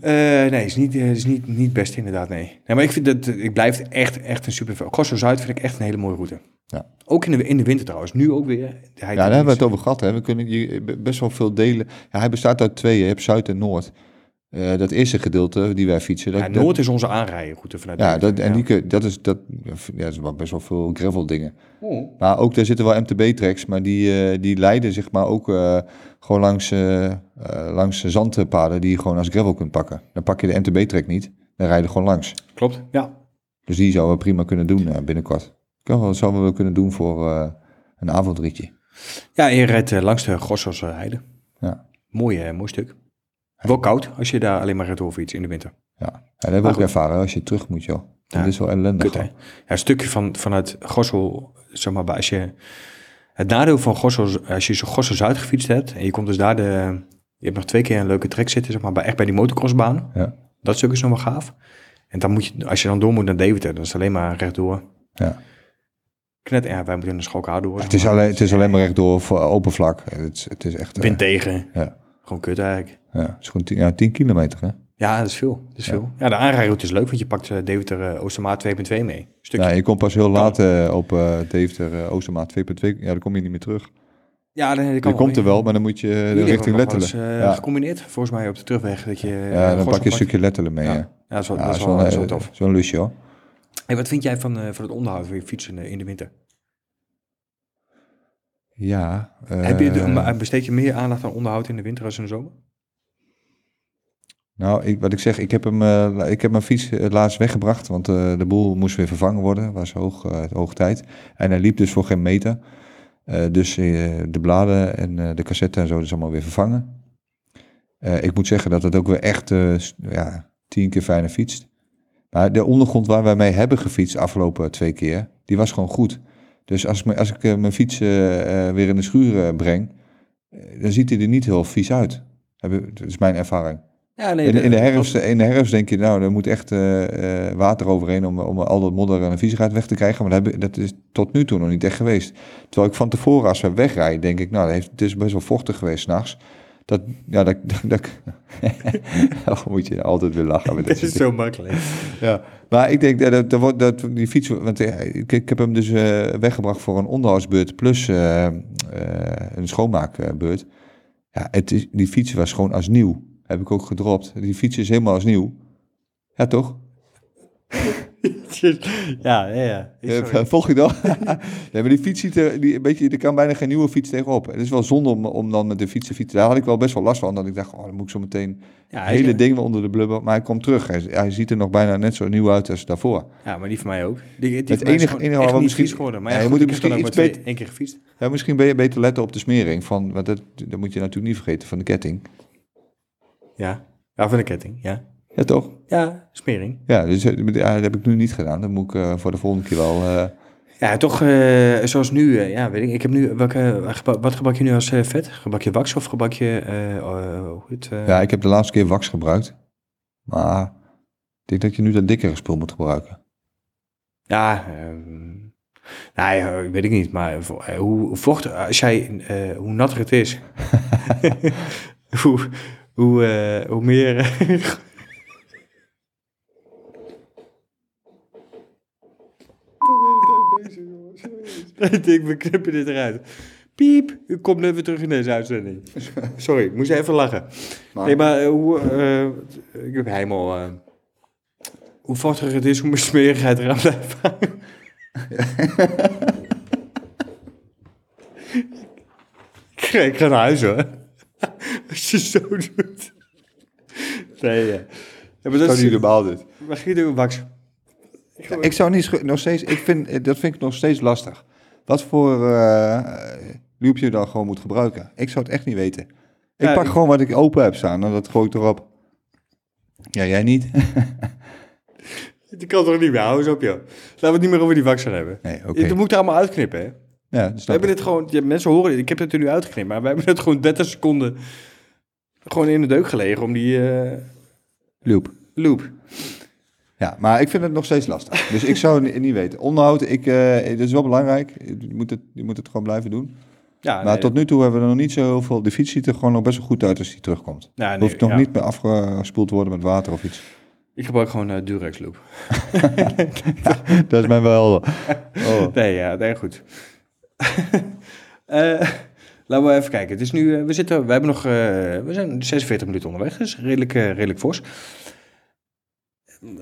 Eh, nee, is niet, eh, is niet, niet best inderdaad, nee. nee maar ik vind dat, eh, ik blijf echt, echt een super... Grosso-Zuid vind ik echt een hele mooie route. Ja. Ook in de, in de winter trouwens, nu ook weer. Hij Ja, daar hebben we het over gehad. Hè. We kunnen je- b- best wel veel delen. Ja, hij bestaat uit twee. Je hebt Zuid en Noord. Eh, dat eerste gedeelte die wij fietsen. Dat, Ja, dat- Noord is onze aanrijdenroute vanuit Ja, dat, en ja. die kun- dat is, dat, ja, dat is wel best wel veel gravel dingen. Oh. Maar ook, daar zitten wel MTB-tracks, maar die, eh, die leiden zeg maar ook eh, gewoon langs, eh eh, langs zandpaden die je gewoon als gravel kunt pakken. Dan pak je de MTB-track niet, dan rijden we gewoon langs. Klopt, ja. Dus die zouden we prima kunnen doen eh, binnenkort. Kan wel, zouden we wel kunnen doen voor eh, een avondritje. Ja, en je rijdt eh, langs de Grosso's eh, heide. Ja. Mooi, eh, mooi stuk. Wel koud als je daar alleen maar gaat doorfietsen in de winter. Ja, en dat hebben we Maar ook ervaren als je terug moet, joh. Dat Ja. is wel ellendig. Kut, hè? Ja, een stukje van, vanuit Gossel, zeg maar, als je... Het nadeel van Gossel, als je zo Gossel-Zuid gefietst hebt... en je komt dus daar de... Je hebt nog twee keer een leuke trek zitten, zeg maar, bij, echt bij die motocrossbaan. Ja. Dat stuk is nog wel gaaf. En dan moet je, als je dan door moet naar Deventer, dan is het alleen maar rechtdoor. Ja. Knet, ja, wij moeten in de Schalkaar door. Het is alleen, het is alleen maar rechtdoor voor open vlak. Het is, het is echt... eh, Wind tegen. Ja. Gewoon kut eigenlijk. ja, het is gewoon 10 ja, 10 kilometer, hè? Ja, dat is veel. Dat is veel. Ja, de aanrijroute is leuk, want je pakt eh, Deventer eh, Oostermaat 2.2 mee. Stukje. Ja, je komt pas heel laat eh, op eh Deventer, eh, Oostermaat 2.2. Ja, dan kom je niet meer terug. Ja, dan, Je komt er wel, maar dan moet je eh, Hier richting hebben we nog Lettelen. wel eens, eh, ja. Gecombineerd, volgens mij op de terugweg. Dat je, eh, ja, dan pak je een stukje. stukje Lettelen mee. Ja. hè. Ja, dat is wel, Ja, dat dat is is wel, wel, dat is wel eh, tof. Zo'n lusje, hoor. Hey, wat vind jij van, eh, van het onderhoud van je fietsen eh, in de winter? Ja. eh, Heb je de, maar besteed je meer aandacht aan onderhoud in de winter als in de zomer? Nou, ik, wat ik zeg, ik heb, hem, eh, la- ik heb mijn fiets eh, laatst weggebracht, want eh, de boel moest weer vervangen worden. was hoog, eh, hoog tijd. En hij liep dus voor geen meter. Eh, dus eh, de bladen en eh, de cassette en zo, dat is allemaal weer vervangen. Eh, ik moet zeggen dat het ook weer echt eh, s- ja, tien keer fijner fietst. Maar de ondergrond waar wij mee hebben gefietst de afgelopen twee keer, die was gewoon goed. Dus als, me- als ik eh, mijn fiets eh, eh, weer in de schuur eh, breng, eh, dan ziet hij er niet heel vies uit. Heb ik- Dat is mijn ervaring. Ja, nee. In, in, de herfst, in de herfst denk je, nou, er moet echt eh, eh, water overheen om, om al dat modder en de viezigheid weg te krijgen. Maar dat, heb ik- dat is tot nu toe nog niet echt geweest. Terwijl ik van tevoren, als we wegrijden, denk ik, nou, dat heeft, het is best wel vochtig geweest s'nachts. Dat, ja, dat, dat, dat- Oh, moet je altijd weer lachen met dit Het soort is zo makkelijk. ja, maar ik denk dat, dat, dat, wordt- dat die fiets... Want eh, ik, ik heb hem dus eh, weggebracht voor een onderhoudsbeurt... plus eh, eh, een schoonmaakbeurt. Ja, het is, die fiets was gewoon als nieuw. Heb ik ook gedropt. Die fiets is helemaal als nieuw. Ja, toch? ja, ja, ja. Eh, volg je dan? nee, maar die fiets ziet er... Die, weet je, er kan bijna geen nieuwe fiets tegenop. Het is wel zonde om, om dan met de fiets te fietsen. Daar had ik wel best wel last van. Dat ik dacht, oh, dan moet ik zo meteen... Ja, het hele ding weer onder de blubber. Maar hij komt terug. Hij, hij ziet er nog bijna net zo nieuw uit als daarvoor. ja, maar die van mij ook. Die, die Het enige- enige waar we misschien- geworden. Maar Ja, ja, je goed, moet ik er heb dan misschien ook maar iets twee- beter- één keer gefietst. Ja, misschien ben je beter letten op de smering. Van, want dat, dat moet je natuurlijk niet vergeten van de ketting. Ja. ja, van de ketting, ja. Ja, toch? Ja, smering. Ja, dus, eh, ja, dat heb ik nu niet gedaan. Dat moet ik eh, voor de volgende keer wel... eh, Ja, toch eh, zoals nu. eh, ja, weet ik. Ik heb nu, welke, geba- wat gebak je nu als eh, vet? Gebak je wax of gebak je, eh, eh, hoe het? eh, ja, ik heb de laatste keer wax gebruikt. Maar ik denk dat je nu dat dikkere spul moet gebruiken. Ja, ehm, nou ja, weet ik niet, maar vo- eh, hoe vocht, als jij, eh, hoe natter het is, hoe, hoe, eh, hoe meer. eh, Ik denk, we knippen dit eruit. Piep, u komt net weer terug in deze uitzending. Sorry, ik moest even lachen. Maar- Nee, maar eh, hoe... eh, ik heb helemaal... eh, hoe vochtiger het is, hoe meer smerigheid eraan blijft hangen. ik, ga, ik ga naar huis, hoor. Als je zo doet. Nee, ja. Ja, maar dat is... normaal dit. Maar Guido, Max. Ik zou niet schu- nog steeds, ik vind, eh, dat vind ik nog steeds lastig. Wat voor eh loop je dan gewoon moet gebruiken? Ik zou het echt niet weten. Ik Ja, pak ik- gewoon wat ik open heb staan en dat gooi ik erop. Ja, jij niet? Die kan toch niet meer, hou eens op, joh. Laten we het niet meer over die wax gaan hebben. Nee, oké. Dan moet ik het allemaal uitknippen, hè. Ja, dat We snap hebben ik. dit gewoon, ja, mensen horen dit, ik heb het er nu uitgeknipt, maar we hebben het gewoon 30 seconden gewoon in de deuk gelegen om die eh, Loop. loop. Ja, maar ik vind het nog steeds lastig. Dus ik zou het ni- niet weten. Onderhoud, ik, eh, dat is wel belangrijk. Je moet het, je moet het gewoon blijven doen. Ja, maar tot nu toe hebben we er nog niet zoveel... De fiets ziet er gewoon nog best wel goed uit als die terugkomt. Ja, nee, Hoeft nog ja. niet meer afgespoeld te worden met water of iets. Ik gebruik gewoon eh Durex loop. Dat is mij wel... Oh. Nee, ja, nee, goed. Eh, laten we even kijken. Het is nu, eh, we, zitten, we, hebben nog, eh, we zijn 46 minuten onderweg, dus redelijk, eh, redelijk fors.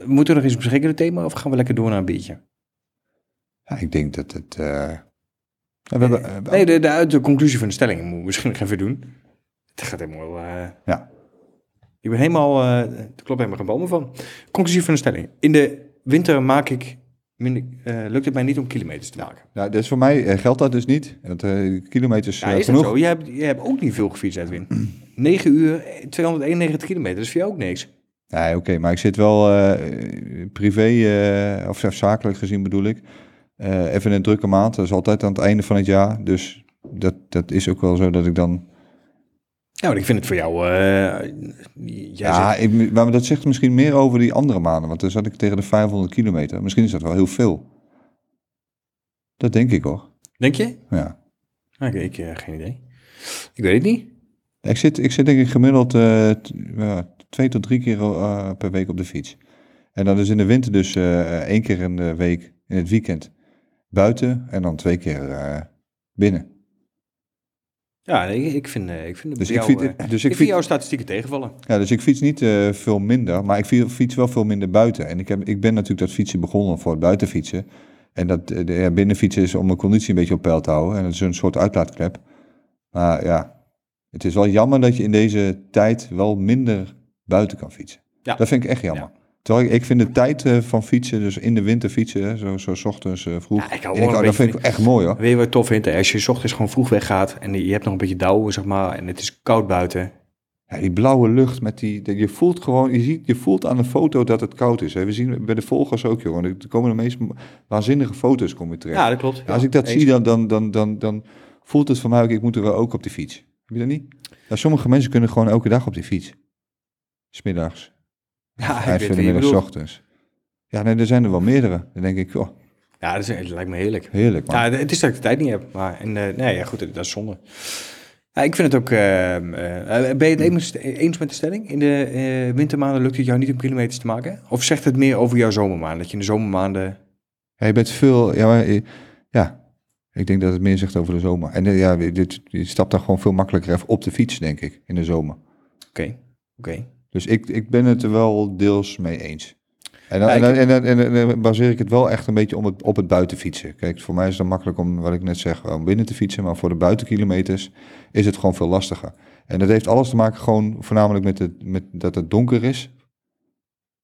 Moeten we nog eens beschikken het thema of gaan we lekker door naar een biertje? Ja, ik denk dat het. eh, ja, we hebben, eh, Nee, de, de, uit- de conclusie van de stelling moeten we misschien nog even doen. Het gaat helemaal... eh, Ja. Ik ben helemaal, eh er klopt helemaal geen bal meer van. Conclusie van de stelling. In de winter maak ik minder, eh, lukt het mij niet om kilometers te maken. Nou, dus voor mij eh, geldt dat dus niet. Want eh, kilometers Ja, eh, is dat genoeg. zo? Jij hebt, jij hebt ook niet veel gefietst, Edwin. 9 uur, eh, 291 kilometer, dat is voor jou ook niks. Nee, oké, maar ik zit wel eh, privé, eh, of zakelijk gezien bedoel ik, eh, even in een drukke maand. Dat is altijd aan het einde van het jaar. Dus dat, dat is ook wel zo dat ik dan... Ja, maar ik vind het voor jou... eh, jij ja, zegt- ik, maar dat zegt misschien meer over die andere maanden. Want dan zat ik tegen de 500 kilometer. Misschien is dat wel heel veel. Dat denk ik hoor. Denk je? Ja. Ah, ik, ik, eh, geen idee. Ik weet het niet. Ik zit, ik zit denk ik gemiddeld eh, t- ja, twee tot drie keer eh, per week op de fiets. En dan is in de winter dus eh, één keer in de week in het weekend buiten en dan twee keer eh, binnen. Ja, nee, ik, ik vind, eh, ik vind, het Dus bij ik, jou, fiets, dus, eh, ik ik vind fiets, jouw statistieken tegenvallen. ja, dus ik fiets niet eh, veel minder, maar ik fi- fiets wel veel minder buiten. En ik, heb, ik ben natuurlijk dat fietsen begonnen voor het buitenfietsen. En dat eh, de- ja, binnenfietsen is om mijn conditie een beetje op peil te houden. En dat is een soort uitlaatklep. Maar ja, het is wel jammer dat je in deze tijd wel minder buiten kan fietsen. Ja. Dat vind ik echt jammer. Terwijl ik, ik vind de tijd eh, van fietsen, dus in de winter fietsen, hè, zo, zo 's ochtends eh, vroeg. Ja, ik hou En wel een oh, dat beetje vind ik echt mooi hoor. Weet je wat ik tof vindt? Als je 's ochtends gewoon vroeg weggaat en je hebt nog een beetje dauw, zeg maar, en het is koud buiten. Ja, die blauwe lucht met die, dat- je voelt gewoon, je ziet, je voelt aan de foto dat het koud is. Hè. We zien bij de volgers ook joh, want er komen de meest waanzinnige foto's komen terecht. Ja, dat klopt. Ja, als ik dat Eens. zie, dan, dan, dan, dan, dan voelt het voor mij ook, ik moet er wel ook op die fiets. Heb je dat niet? Ja, sommige mensen kunnen gewoon elke dag op die fiets. Smiddags, Ja, ik vijf uur weet wat in de je middag, 's bedoelt. ochtends. Ja, nee, er zijn er wel meerdere. Dan denk ik, oh, Ja, dat, is, dat lijkt me heerlijk. heerlijk man. Ja, het is dat ik de tijd niet heb. Maar en, eh, nee, ja, goed, dat is zonde. Ja, ik vind het ook... ehm, eh, ben je Hmm. het eens- eens met de stelling? In de eh, wintermaanden lukt het jou niet om kilometers te maken? Of zegt het meer over jouw zomermaanden? Dat je in de zomermaanden... Ja, je bent veel, ja, maar, eh, ja, ik denk dat het meer zegt over de zomer. En eh, ja, dit, je stapt dan gewoon veel makkelijker even op de fiets, denk ik, in de zomer. Oké, oké. Dus ik, ik ben het er wel deels mee eens. En dan, Ja, en, ik- dan, en, dan, en dan- en dan baseer ik het wel echt een beetje om het, op het buitenfietsen. Kijk, voor mij is het makkelijk om, wat ik net zeg, om binnen te fietsen. Maar voor de buitenkilometers is het gewoon veel lastiger. En dat heeft alles te maken gewoon voornamelijk met, het, met dat het donker is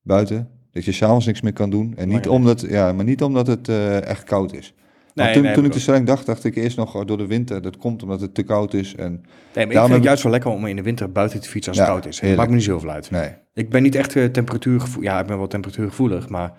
buiten. Dat je s'avonds niks meer kan doen. En niet Belangrijk. omdat, ja, maar niet omdat het eh, echt koud is. Maar Nee, toen, nee, toen heb ik de ik stelling dacht, dacht ik eerst nog eh, door de winter. Dat komt omdat het te koud is. En, Nee, maar ik Daarom vind heb het ik- juist wel lekker om in de winter buiten te fietsen als het Ja, koud is. Het heerlijk. maakt me niet zoveel uit. nee. Ik ben niet echt eh, temperatuurgevoelig. Ja, ik ben wel temperatuurgevoelig, maar...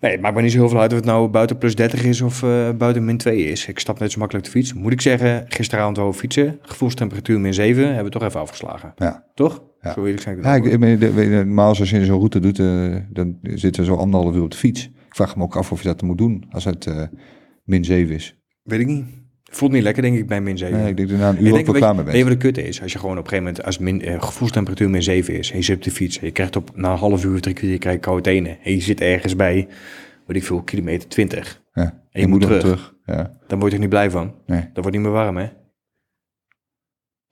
Nee, het maakt me niet zo heel veel uit of het nou buiten plus 30 is of eh, buiten min 2 is. Ik stap net zo makkelijk de fiets. Moet ik zeggen, gisteravond over fietsen, gevoelstemperatuur min 7, hebben we toch even afgeslagen. Ja. Toch? Ja. Zo eerlijk zijn. ik Ja, dat ik, ook. ik meen, de- weet je, normaal als je zo'n route doet, eh, dan zitten we zo anderhalf uur op de fiets. Ik vraag me ook af of je dat moet doen als het eh, min 7 is. Weet ik niet. Voelt niet lekker, denk ik, bij min 7. Nee, ik denk dat je na een Ik uur ook denk, wel weet, klaar mee weet je bent. wat de kutte is? Als je gewoon op een gegeven moment, als min, eh, gevoelstemperatuur min 7 is, en je zit op de fiets, en je krijgt op na een half uur, drie kwartier, je krijgt koude tenen, en je zit ergens bij, weet ik veel, kilometer 20. Ja, je moet dan terug. Ja. Dan word je er niet blij van. Nee. Dan wordt niet meer warm, hè?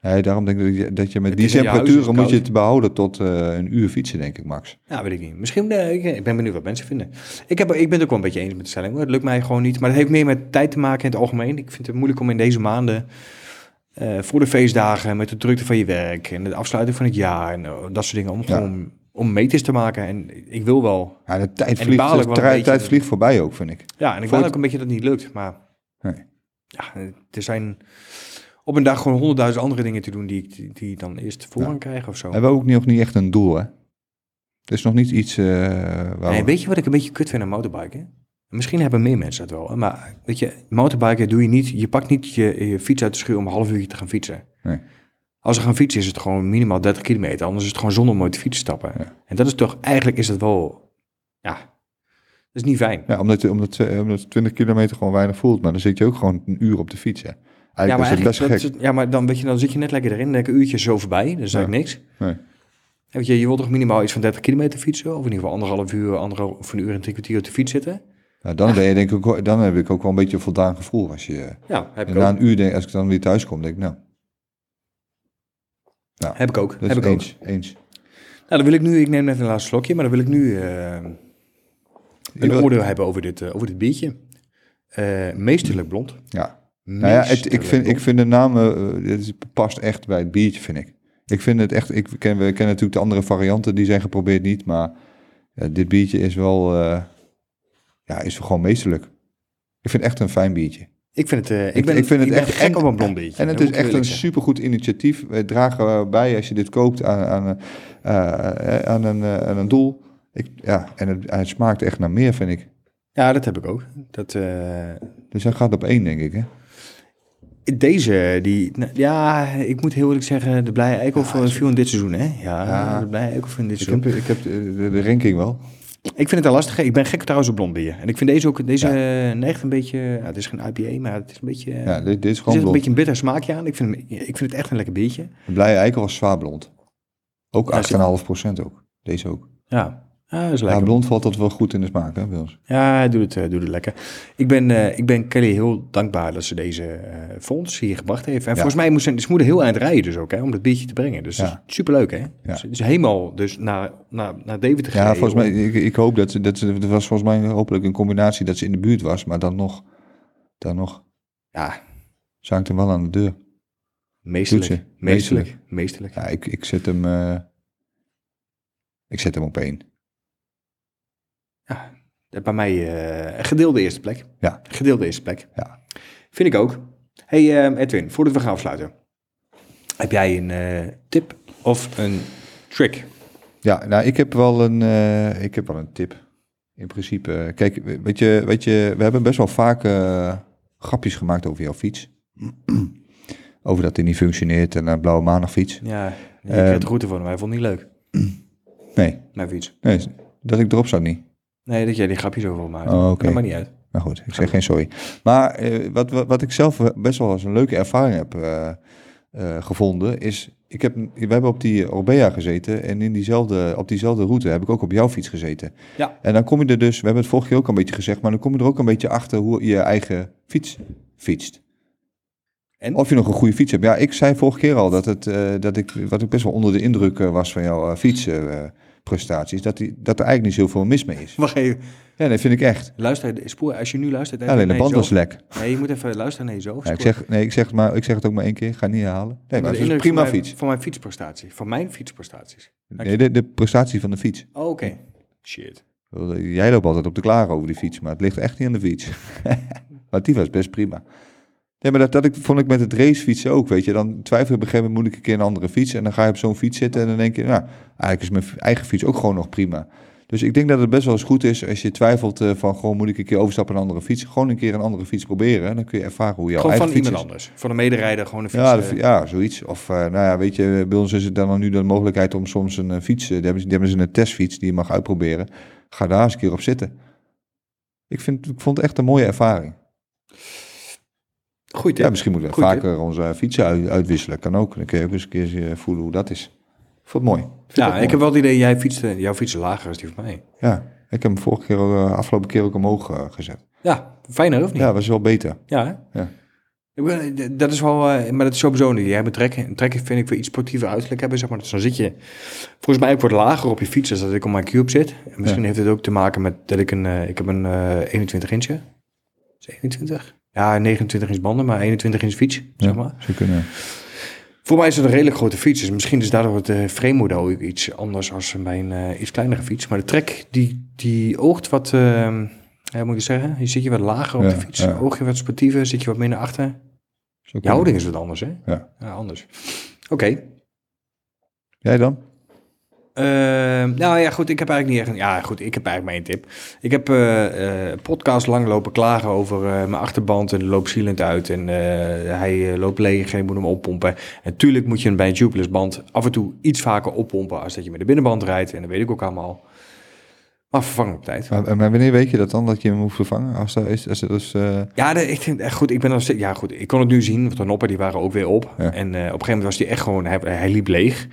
Nee, daarom denk ik dat je, dat je met Het die is in je huis, temperaturen het is moet je het behouden tot eh, een uur fietsen, denk ik, Max. Nou, weet ik niet. Misschien, eh, ik, ik ben benieuwd wat mensen vinden. Ik, heb, ik ben het ook wel een beetje eens met de stelling. hoor. Het lukt mij gewoon niet. Maar het heeft meer met tijd te maken in het algemeen. Ik vind het moeilijk om in deze maanden, eh, voor de feestdagen, met de drukte van je werk en de afsluiting van het jaar en eh, dat soort dingen, om gewoon om meters te maken. En ik wil wel. Ja, de tijd die vliegt, baal ook de wel tra- een beetje. tijd vliegt voorbij ook, vind ik. Ja, en ik Voor wil het- ook een beetje dat het niet lukt. Maar Nee. ja, er zijn op een dag gewoon honderdduizend andere dingen te doen die ik die, die dan eerst voorrang krijg of zo. We hebben ook niet- nog niet echt een doel, hè? Er is nog niet iets eh, waar Nee, we... weet je wat ik een beetje kut vind aan motorbiken? Misschien hebben meer mensen dat wel. hè, Maar weet je, motorbiken doe je niet. Je pakt niet je, je fiets uit de schuur om een half uurtje te gaan fietsen. Nee. Als we gaan fietsen is het gewoon minimaal 30 kilometer. Anders is het gewoon zonder om ooit te fietsen stappen. En dat is toch, eigenlijk is dat wel, ja, dat is niet fijn. Ja, omdat, omdat, eh, omdat 20 kilometer gewoon weinig voelt. Maar dan zit je ook gewoon een uur op de fiets, hè? Eigenlijk is het best eigenlijk, gek. dat is- ja, maar dan, weet je, dan zit je net lekker erin. Lekker een uurtje zo voorbij. Dat is Ja. eigenlijk niks. Nee. En Weet je, je wilt toch minimaal iets van 30 kilometer fietsen? Of in ieder geval anderhalf uur, anderhalf, of een uur en drie kwartier op de fiets zitten? Nou, dan, ben je, denk ik, ook- dan heb ik ook wel een beetje een voldaan gevoel. Als je, Ja, heb en ik na ook. een uur, denk, als ik dan weer thuis kom, denk ik, nou, Heb ik ook. dat is heb ik ook. eens. eens. Nou, dan wil ik nu, ik neem even een laatste slokje, maar dan wil ik nu eh, een wil- oordeel hebben over dit, eh, over dit biertje. Eh, meesterlijk blond. Ja. Nou ja, het, ik, Meesterlijk vind, ik blond. vind de naam, eh, dit is- past echt bij het biertje, vind ik. Ik vind het echt, ik ken, we kennen natuurlijk de andere varianten, die zijn geprobeerd niet, maar eh, dit biertje is wel, eh, ja, is gewoon meesterlijk. Ik vind het echt een fijn biertje. Ik vind het, eh, ik ben, ik vind het ik ben echt- gek en- op een blond biertje. En het is dat moet ik echt een eerlijk zeggen. supergoed initiatief. We dragen eh, bij als je dit koopt aan, aan, eh, eh, aan, een, eh, aan een doel. Ik, ja, en het, het smaakt echt naar meer, vind ik. Ja, dat heb ik ook. Dat, eh, Dus hij gaat op één, denk ik. Hè? deze, die... nou, ja, ik moet heel eerlijk zeggen, de blije eikel voor viel in dit seizoen, hè? Ja, Ja. de blije eikel viel in dit Ik seizoen. heb, ik heb de, de- de ranking wel. Ik vind het een lastige. Ik ben gek trouwens op blond bier. En ik vind deze ook, deze eh, neigt een beetje... nou, het is geen IPA, maar het is een beetje... eh, Ja, dit, dit is gewoon er zit een blond. beetje een bitter smaakje aan. Ik vind, hem- ik vind het echt een lekker biertje. De blije eikel was zwaar blond. Ook Ja, zit- 8,5 ook. Deze ook. Ja, ja dat is Ja, lekker. blond valt dat wel goed in de smaak, hè, bij ons. Ja, hij doet het, eh, doet het lekker. Ik ben, eh, ik ben Kelly heel dankbaar dat ze deze eh, voor ons hier gebracht heeft. En volgens mij moest ze, ze moeder heel eind rijden dus ook, hè, om dat biertje te brengen. Dus dat Ja. is superleuk, hè? Ze is helemaal dus naar, naar, naar Deventer Ja, gereden volgens om- mij, ik, ik hoop dat, ze- dat ze, het was volgens mij hopelijk een combinatie dat ze in de buurt was, maar dan nog, dan nog Ja, zaakt hem wel aan de deur. meesterlijk. Doet ze. Meesterlijk. Meesterlijk. meesterlijk. Ja, Nou, ik, ik zet hem, eh, ik zet hem op één. Eh, Bij mij eh, een gedeelde eerste plek. Ja. Gedeelde eerste plek. Ja. Vind ik ook. hey eh, Edwin, voordat we gaan afsluiten. Heb jij een eh, tip of een trick? Ja, nou, ik heb wel een, eh, ik heb wel een tip. In principe, eh, kijk, weet je, weet je, we hebben best wel vaak eh, grapjes gemaakt over jouw fiets. over dat hij niet functioneert en een blauwe maandagfiets. Ja, ik Ehm, kreeg de route voor hem, maar hij vond het niet leuk. Nee, Mijn fiets. nee, dat ik erop zat niet. Nee, dat jij die grapjes over wil maken. Oh, oké. Dat maakt niet uit. Maar goed, ik zeg geen sorry. Maar eh, wat, wat, wat ik zelf best wel als een leuke ervaring heb eh, eh, gevonden, is... Ik heb, we hebben op die Orbea gezeten en in diezelfde, op diezelfde route heb ik ook op jouw fiets gezeten. Ja. En dan kom je er dus, we hebben het vorige keer ook een beetje gezegd, maar dan kom je er ook een beetje achter hoe je eigen fiets fietst. En? Of je nog een goede fiets hebt. Ja, ik zei vorige keer al dat, het, eh, dat ik, wat ik best wel onder de indruk eh, was van jouw fietsprestaties, dat, die, dat er eigenlijk niet zoveel mis mee is. Wacht even. Ja, dat vind ik echt. Luister, spoor, als je nu luistert... even Alleen de naar band was jezelf. lek. Nee, je moet even luisteren naar jezelf. Ja, ik, zeg, nee, ik, zeg het maar, ik zeg het ook maar één keer, ik ga het niet herhalen. Nee, maar het is een prima fiets. Van mijn fietsprestatie. Van mijn fietsprestaties. Nee, de, de prestatie van de fiets. Oh, Oké. Shit. Jij loopt altijd op te klagen over die fiets, maar het ligt echt niet aan de fiets. Maar die was best prima. Nee, maar dat, dat ik, vond ik met het racefietsen ook, weet je. Dan twijfel je op een gegeven moment, moet ik een keer een andere fiets? En dan ga je op zo'n fiets zitten en dan denk je, nou, eigenlijk is mijn f- eigen fiets ook gewoon nog prima. Dus ik denk dat het best wel eens goed is als je twijfelt eh, van, gewoon moet ik een keer overstappen naar een andere fiets? Gewoon een keer een andere fiets proberen en dan kun je ervaren hoe jouw Gewoon eigen van fiets iemand is. anders. Van een mederijder, gewoon een fiets. Ja, eh, de fi- ja, zoiets. Of eh, nou ja, weet je, bij ons is het dan nu de mogelijkheid om soms een eh, fiets, eh, die hebben, ze- die hebben ze een testfiets die je mag uitproberen. Ga daar eens een keer op zitten. Ik, vind, ik vond het echt een mooie ervaring. eh. Goed, Ja, misschien moeten we Goed, vaker onze eh, fietsen uit- uitwisselen. Kan ook. Dan kun je ook eens een keer eh, voelen hoe dat is. Ik vond het mooi. Ja, ik heb wel het idee, jij fietst, eh, jouw fiets is lager is die van mij. Ja, ik heb hem vorige keer, ook, eh, afgelopen keer ook omhoog eh, gezet. Ja, fijner of niet? Ja, was wel beter. Ja, hè? Ja. Ik ben- Dat is wel, eh, maar dat is sowieso niet. Jij moet trekken. En trekken vind ik weer iets sportiever uiterlijk hebben, zeg maar. Dus dan zit je, volgens mij, ik word lager op je fiets als dat ik op mijn cube zit. En misschien heeft het ook te maken met dat ik een, eh, ik heb een eh 21 inch, hè? Is het 21? Ja, 29 inch banden, maar 21 inch fiets, zeg maar. Ze kunnen. Voor mij is het een redelijk grote fiets. Dus misschien is daardoor het eh, frame model ook iets anders als mijn eh, iets kleinere fiets. Maar de trek, die, die oogt wat, ehm, ja, moet ik zeggen, je zit je wat lager op Ja, de fiets. ja. Oog je wat sportiever, zit je wat minder achter. Ze kunnen. Je houding is wat anders, hè? Ja. anders. Oké. Jij dan? Ehm, nou ja, goed, ik heb eigenlijk niet echt... een- Ja, goed, ik heb eigenlijk mijn tip. Ik heb eh, eh, podcast lang lopen klagen over eh, mijn achterband en loopt zielend uit en eh, hij eh, loopt leeg en je moet hem oppompen. En tuurlijk moet je hem bij een tubeless band af en toe iets vaker oppompen als dat je met de binnenband rijdt. En dat weet ik ook allemaal. Maar vervang op tijd. Maar, maar wanneer weet je dat dan? Dat je hem hoeft vervangen? Als dat is, als dat is, eh, Ja, de- ik denk, echt goed, ik ben nog steeds- ja, goed, ik kon het nu zien, want de noppen die waren ook weer op. Ja. En eh, op een gegeven moment was die echt gewoon, hij, hij liep leeg.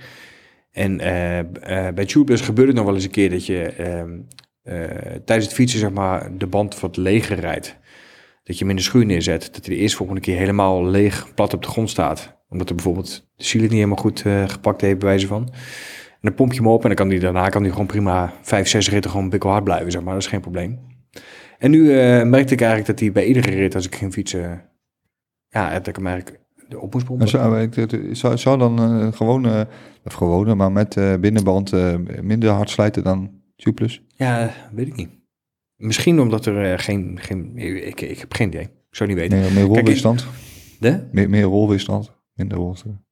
En eh, b- eh, bij Tubeless gebeurde het nog wel eens een keer dat je ehm, eh, tijdens het fietsen zeg maar, de band wat leger rijdt. Dat je hem in de schuur neerzet. Dat hij de eerste volgende keer helemaal leeg plat op de grond staat. Omdat er bijvoorbeeld de ziel het niet helemaal goed eh, gepakt heeft, bij wijze van. En dan pomp je hem op en dan kan die, daarna kan hij gewoon prima vijf, zes ritten gewoon bikkelhard blijven, zeg maar. Dat is geen probleem. En nu eh, merkte ik eigenlijk dat hij bij iedere rit, als ik ging fietsen, ja, dat ik hem eigenlijk op moest pompen. Maar Zou, ik- het- het- zou, zou dan eh, gewoon, eh, of gewone, maar met eh, binnenband eh, minder hard slijten dan tubeless? Ja, weet ik niet. Misschien omdat er eh, geen, geen ik, ik heb geen idee. Ik zou niet weten. Meer, meer ik- rolweerstand? De? Meer, meer rolweerstand? Minder rolweerstand?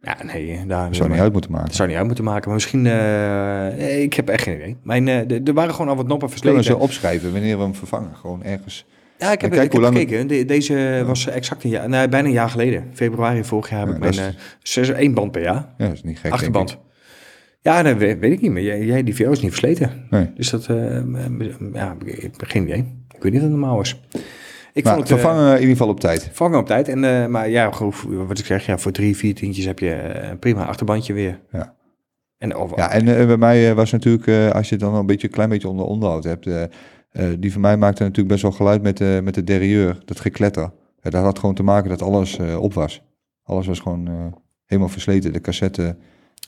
Ja, nee, eh, daar Dat zou niet uit moeten maken. dat zou niet uit moeten maken. Maar misschien, eh, ik heb echt geen idee. Mijn, eh, de- er waren gewoon al wat Kunnen noppen versleten. we ze opschrijven wanneer we hem vervangen? Gewoon ergens. Ja, ik Maar heb, kijk ik heb hoe lang- gekeken. De- deze was exact een jaar, nou, bijna een jaar geleden. Februari vorig jaar heb Ja, ik dat mijn is- eh, zes, één band per jaar. Ja, dat is niet gek. denk ik. Achterband. Ja, dat weet, weet ik niet meer. Jij, jij, die VO is niet versleten. Nee. Dus dat, eh, m- ja, ik heb geen idee. Ik weet niet of het normaal is. Ik Maar vond het, eh, vervangen eh, in ieder geval op tijd. vangen op tijd. En, eh, maar ja, gewoon voor- wat ik zeg, ja, voor drie, vier tientjes heb je eh, een prima achterbandje weer. Ja. En over. Ja, en eh, bij mij eh, was natuurlijk, eh, als je het dan al een beetje, klein beetje onder onderhoud hebt, eh, eh, die van mij maakte natuurlijk best wel geluid met, eh met het derrière, dat gekletter. Ja, dat had gewoon te maken dat alles eh, op was. Alles was gewoon eh, helemaal versleten. De cassette,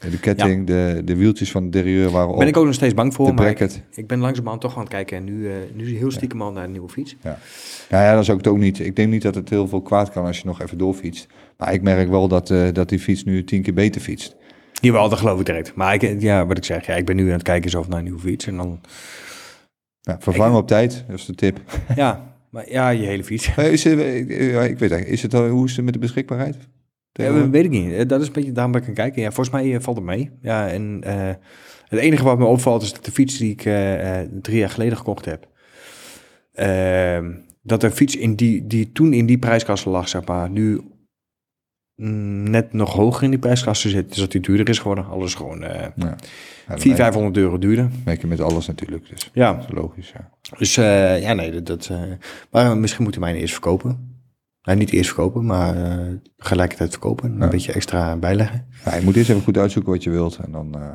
eh, de ketting, de, de wieltjes van het derrière waren op. ben ik ook nog steeds bang voor, de maar ik, bracket. ik ben langzamerhand toch aan het kijken. En nu, eh, nu heel stiekem al naar een nieuwe fiets. Nou ja, dat is ook het ook niet. Ik denk niet dat het heel veel kwaad kan als je nog even doorfietst. Maar ik merk wel dat, eh, dat die fiets nu tien keer beter fietst. Jawel, dat geloof ik direct. Maar ik, ja, wat ik zeg, ja, ik ben nu aan het kijken zo naar een nieuwe fiets. En dan, Nou, vervangen op tijd, dat is de tip. ja, maar, ja, je hele fiets. Maar Is, er- eh, eh, ja, ik weet eigenlijk, is het, al- hoe is het met de beschikbaarheid? Ja, we- weet ik niet. Eh, Dat is een beetje daarom ben ik aan het kijken. Ja, volgens mij eh, valt het mee. Ja, en eh, het enige wat me opvalt is dat de fiets die ik eh, eh, drie jaar geleden gekocht heb, ehm, dat een fiets in die, die toen in die prijsklasse lag, zeg maar, nu mm, net nog hoger in die prijsklasse zit. Dus dat die duurder is geworden. Alles gewoon eh Ja. Ja, dat 400, 500 euro duurder. merk je met alles natuurlijk. Dus Ja, dat is logisch. Ja. dus eh, ja, nee, dat. dat eh, maar eh, misschien moeten wij eerst verkopen. Nou, niet eerst verkopen, maar eh gelijkertijd verkopen. Een Ja. beetje extra bijleggen. Ja, je moet eerst even goed uitzoeken wat je wilt. En dan, eh,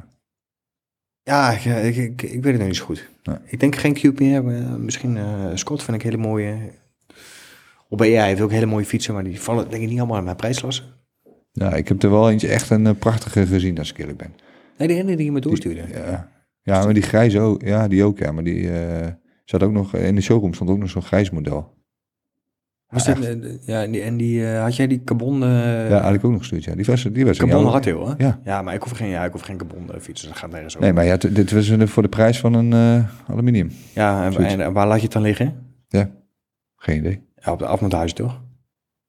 Ja, ik, ik, ik, ik weet het nog niet zo goed. Nee. Ik denk geen Cube meer. maar Misschien eh, Scott vind ik hele mooie. Op AI heeft ook hele mooie fietsen, maar die vallen denk ik niet allemaal in mijn prijsklasse. ja, ik heb er wel eentje echt een eh, prachtige gezien als ik eerlijk ben. Nee, de ene die je me doorstuurde. Ja, ja maar die grijze ook. Ja, die ook. Ja, maar die eh, zat ook nog in de showroom stond ook nog zo'n grijs model. Was dit, eh, ja, en die, en die, eh, had jij die carbon... eh, ja, had ik ook nog zoiets. Ja, die was die was in carbon jouw- hard heel, hè? Ja. maar ik hoef geen, ja, ik hoef geen carbon eh, fietsen. Dat gaat nergens over. Nee, maar ja, t- dit was een- voor de prijs van een eh, aluminium. ja, en, Zoiets. en waar laat je het dan liggen? Geen idee. Ja, op de afmontage toch?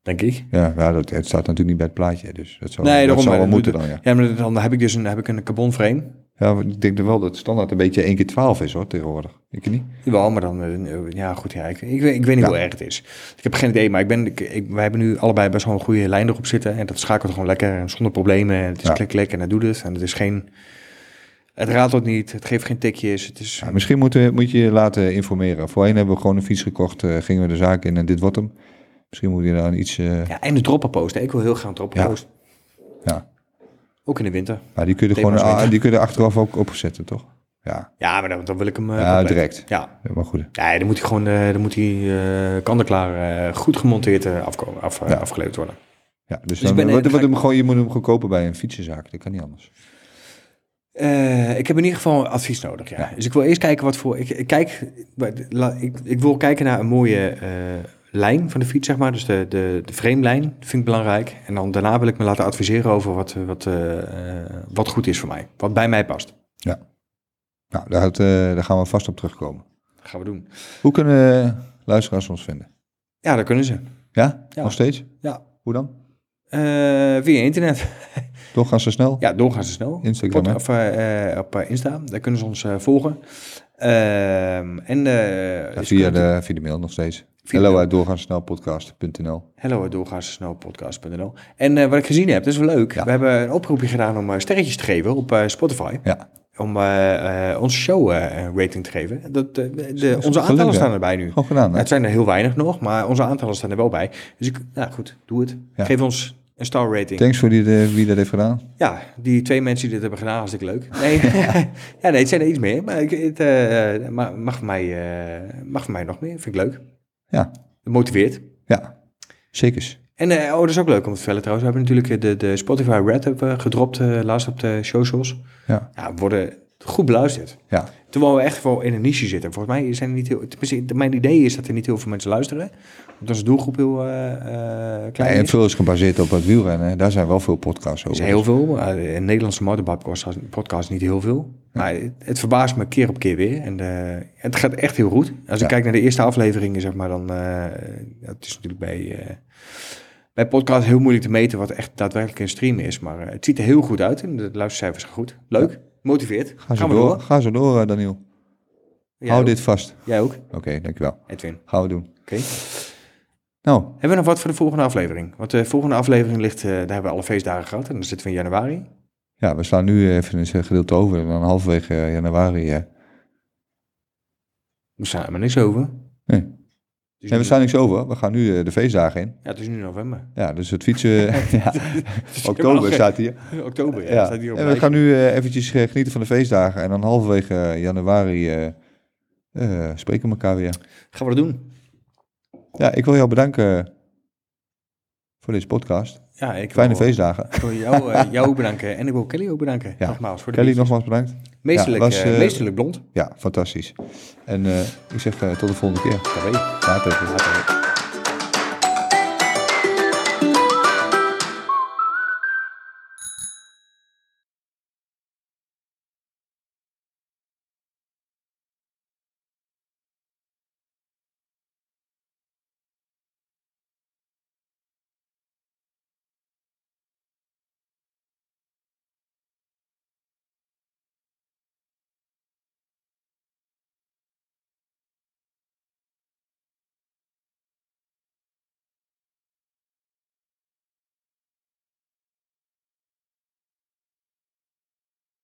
Denk ik. Ja, ja dat, het staat natuurlijk niet bij het plaatje. Dus dat zou, Nee, dat daarom, zou wel maar dat moeten dan, ja. Ja, maar dan heb ik dus een, heb ik een carbon frame. Ja, maar ik denk wel dat het standaard een beetje 1 keer 12 is hoor, tegenwoordig. Ik niet. Jawel, maar dan... eh, Ja, goed, ja, ik, ik, weet- ik weet niet Ja. hoe erg het is. Ik heb geen idee, maar ik ben, ik, ik- wij hebben nu allebei best wel een goede lijn erop zitten. En dat schakelt gewoon lekker en zonder problemen. En het is Ja. klik, klik en het doet het. En het is geen... Het ratelt niet, het geeft geen tikjes. Het is, Ja, misschien moet, eh, moet je je laten informeren. Voorheen hebben we gewoon een fiets gekocht, eh, gingen we de zaak in en dit wordt hem. Misschien moet je daar iets... eh, Ja, en de dropperpost. hè. Ik wil heel graag een dropperpost. Ja. Ook in de winter. maar die kun je er Thema gewoon is ah, winter. die kun je er achteraf ook opzetten, toch? Ja, Ja, maar dan, dan wil ik hem... eh, ja compleet. direct. Ja. Ja, maar goed. ja, dan moet hij gewoon... eh, dan moet hij eh kant-en-klaar eh, goed gemonteerd eh, afkomen, af, eh, Ja. afgeleverd worden. Ja, dus, ik dan, ben- wat- dan wat ga hem gewoon, je moet hem gewoon kopen bij een fietsenzaak. Dat kan niet anders. Eh, ik heb in ieder geval advies nodig, ja. Ja. Dus ik wil eerst kijken wat voor... Ik, ik kijk, la- ik, ik wil kijken naar een mooie eh, lijn van de fiets, zeg maar. Dus de, de, de framelijn vind ik belangrijk. En dan daarna wil ik me laten adviseren over wat, eh, wat, eh, eh, wat goed is voor mij. Wat bij mij past. Nou, daar, had, eh, daar gaan we vast op terugkomen. Dat gaan we doen. Hoe kunnen eh, luisteraars ons vinden? Ja, dat kunnen ze. Ja? Ja. Nog steeds? Ja. Hoe dan? Eh, via internet. Toch gaan ze snel? Ja, doorgaan ze snel. Instagram, Pod- hè? of, eh, eh, op eh, Insta. Daar kunnen ze ons eh, volgen. Ehm, en eh, Ja, ze via, kunnen- de, via de mail nog steeds. Via de Hello mail. uit doorgaansnelpodcast.nl Hello, doorgaansnelpodcast.nl. En eh, wat ik gezien heb, dat is wel leuk. Ja. We hebben een oproepje gedaan om eh, sterretjes te geven op eh, Spotify. Ja. Om eh, eh, onze show eh, een rating te geven. Dat, eh, de, onze aantallen gelukt, hè? staan erbij nu. Gewoon gedaan, hè? Het zijn er heel weinig nog, maar onze aantallen staan er wel bij. Dus ik, nou goed, doe het. Ja. Geef ons een star rating. Thanks voor die, de, wie dat heeft gedaan. Ja, die twee mensen die dit hebben gedaan, hartstikke leuk. Nee, ja. nee het zijn er iets meer. Maar ik, het, eh, ma- mag, voor mij, eh, mag voor mij nog meer. Vind ik leuk. Ja. Het motiveert. Ja, zeker. En eh, oh, dat is ook leuk om te vertellen trouwens. We hebben natuurlijk eh, de, de Spotify Red hebben we gedropt eh, laatst op de socials. Ja. Ja, we worden goed beluisterd. Ja. Terwijl we echt wel in een niche zitten. Volgens mij zijn er niet heel... Tenminste, mijn idee is dat er niet heel veel mensen luisteren. Omdat onze doelgroep heel eh, eh, Ja, klein en is. veel is gebaseerd op het wielrennen. hè. Daar zijn wel veel podcasts Er over. zijn heel veel. eh, Een Nederlandse motorbike podcast niet heel veel. Maar het, het verbaast me keer op keer weer. En eh, het gaat echt heel goed. Als Ja. ik kijk naar de eerste afleveringen, zeg maar, dan... eh het is natuurlijk bij, eh, bij podcast heel moeilijk te meten wat echt daadwerkelijk een stream is. Maar eh, het ziet er heel goed uit en de luistercijfers gaan goed. Leuk, motiveert. Ga zo gaan we door, door. ga zo door eh, Daniel. Jij Hou ook. dit vast. Jij ook, Oké, dankjewel. Edwin. Gaan we doen. Oké. Nou, Hebben we nog wat voor de volgende aflevering? Want de volgende aflevering ligt... eh, daar hebben we alle feestdagen gehad. En dan zitten we in januari. ja, we slaan nu eh, even een gedeelte over. En dan halverwege eh, januari. eh. We staan er maar niks over. Nee. Dus Nee, we slaan niks over. We gaan nu eh, de feestdagen in. Ja, het is nu november. Ja, dus het fietsen... ja, oktober staat hier. Eh, Oktober, ja. Ja. Staat hier op En we gaan nu eh, eventjes eh, genieten van de feestdagen. En dan halverwege eh, januari eh, eh, spreken we elkaar weer. gaan we dat doen? Ja, ik wil jou bedanken voor deze podcast. Ja, ik Fijne wil, feestdagen. Ik wil jou, eh, jou ook bedanken en ik wil Kelly ook bedanken. Ja. Nogmaals voor de Kelly, biertjes. nogmaals bedankt. meesterlijk, ja, was, eh, eh, meesterlijk blond. Ja, fantastisch. En eh, ik zeg eh, tot de volgende keer. Dat weet ik. Later. Later.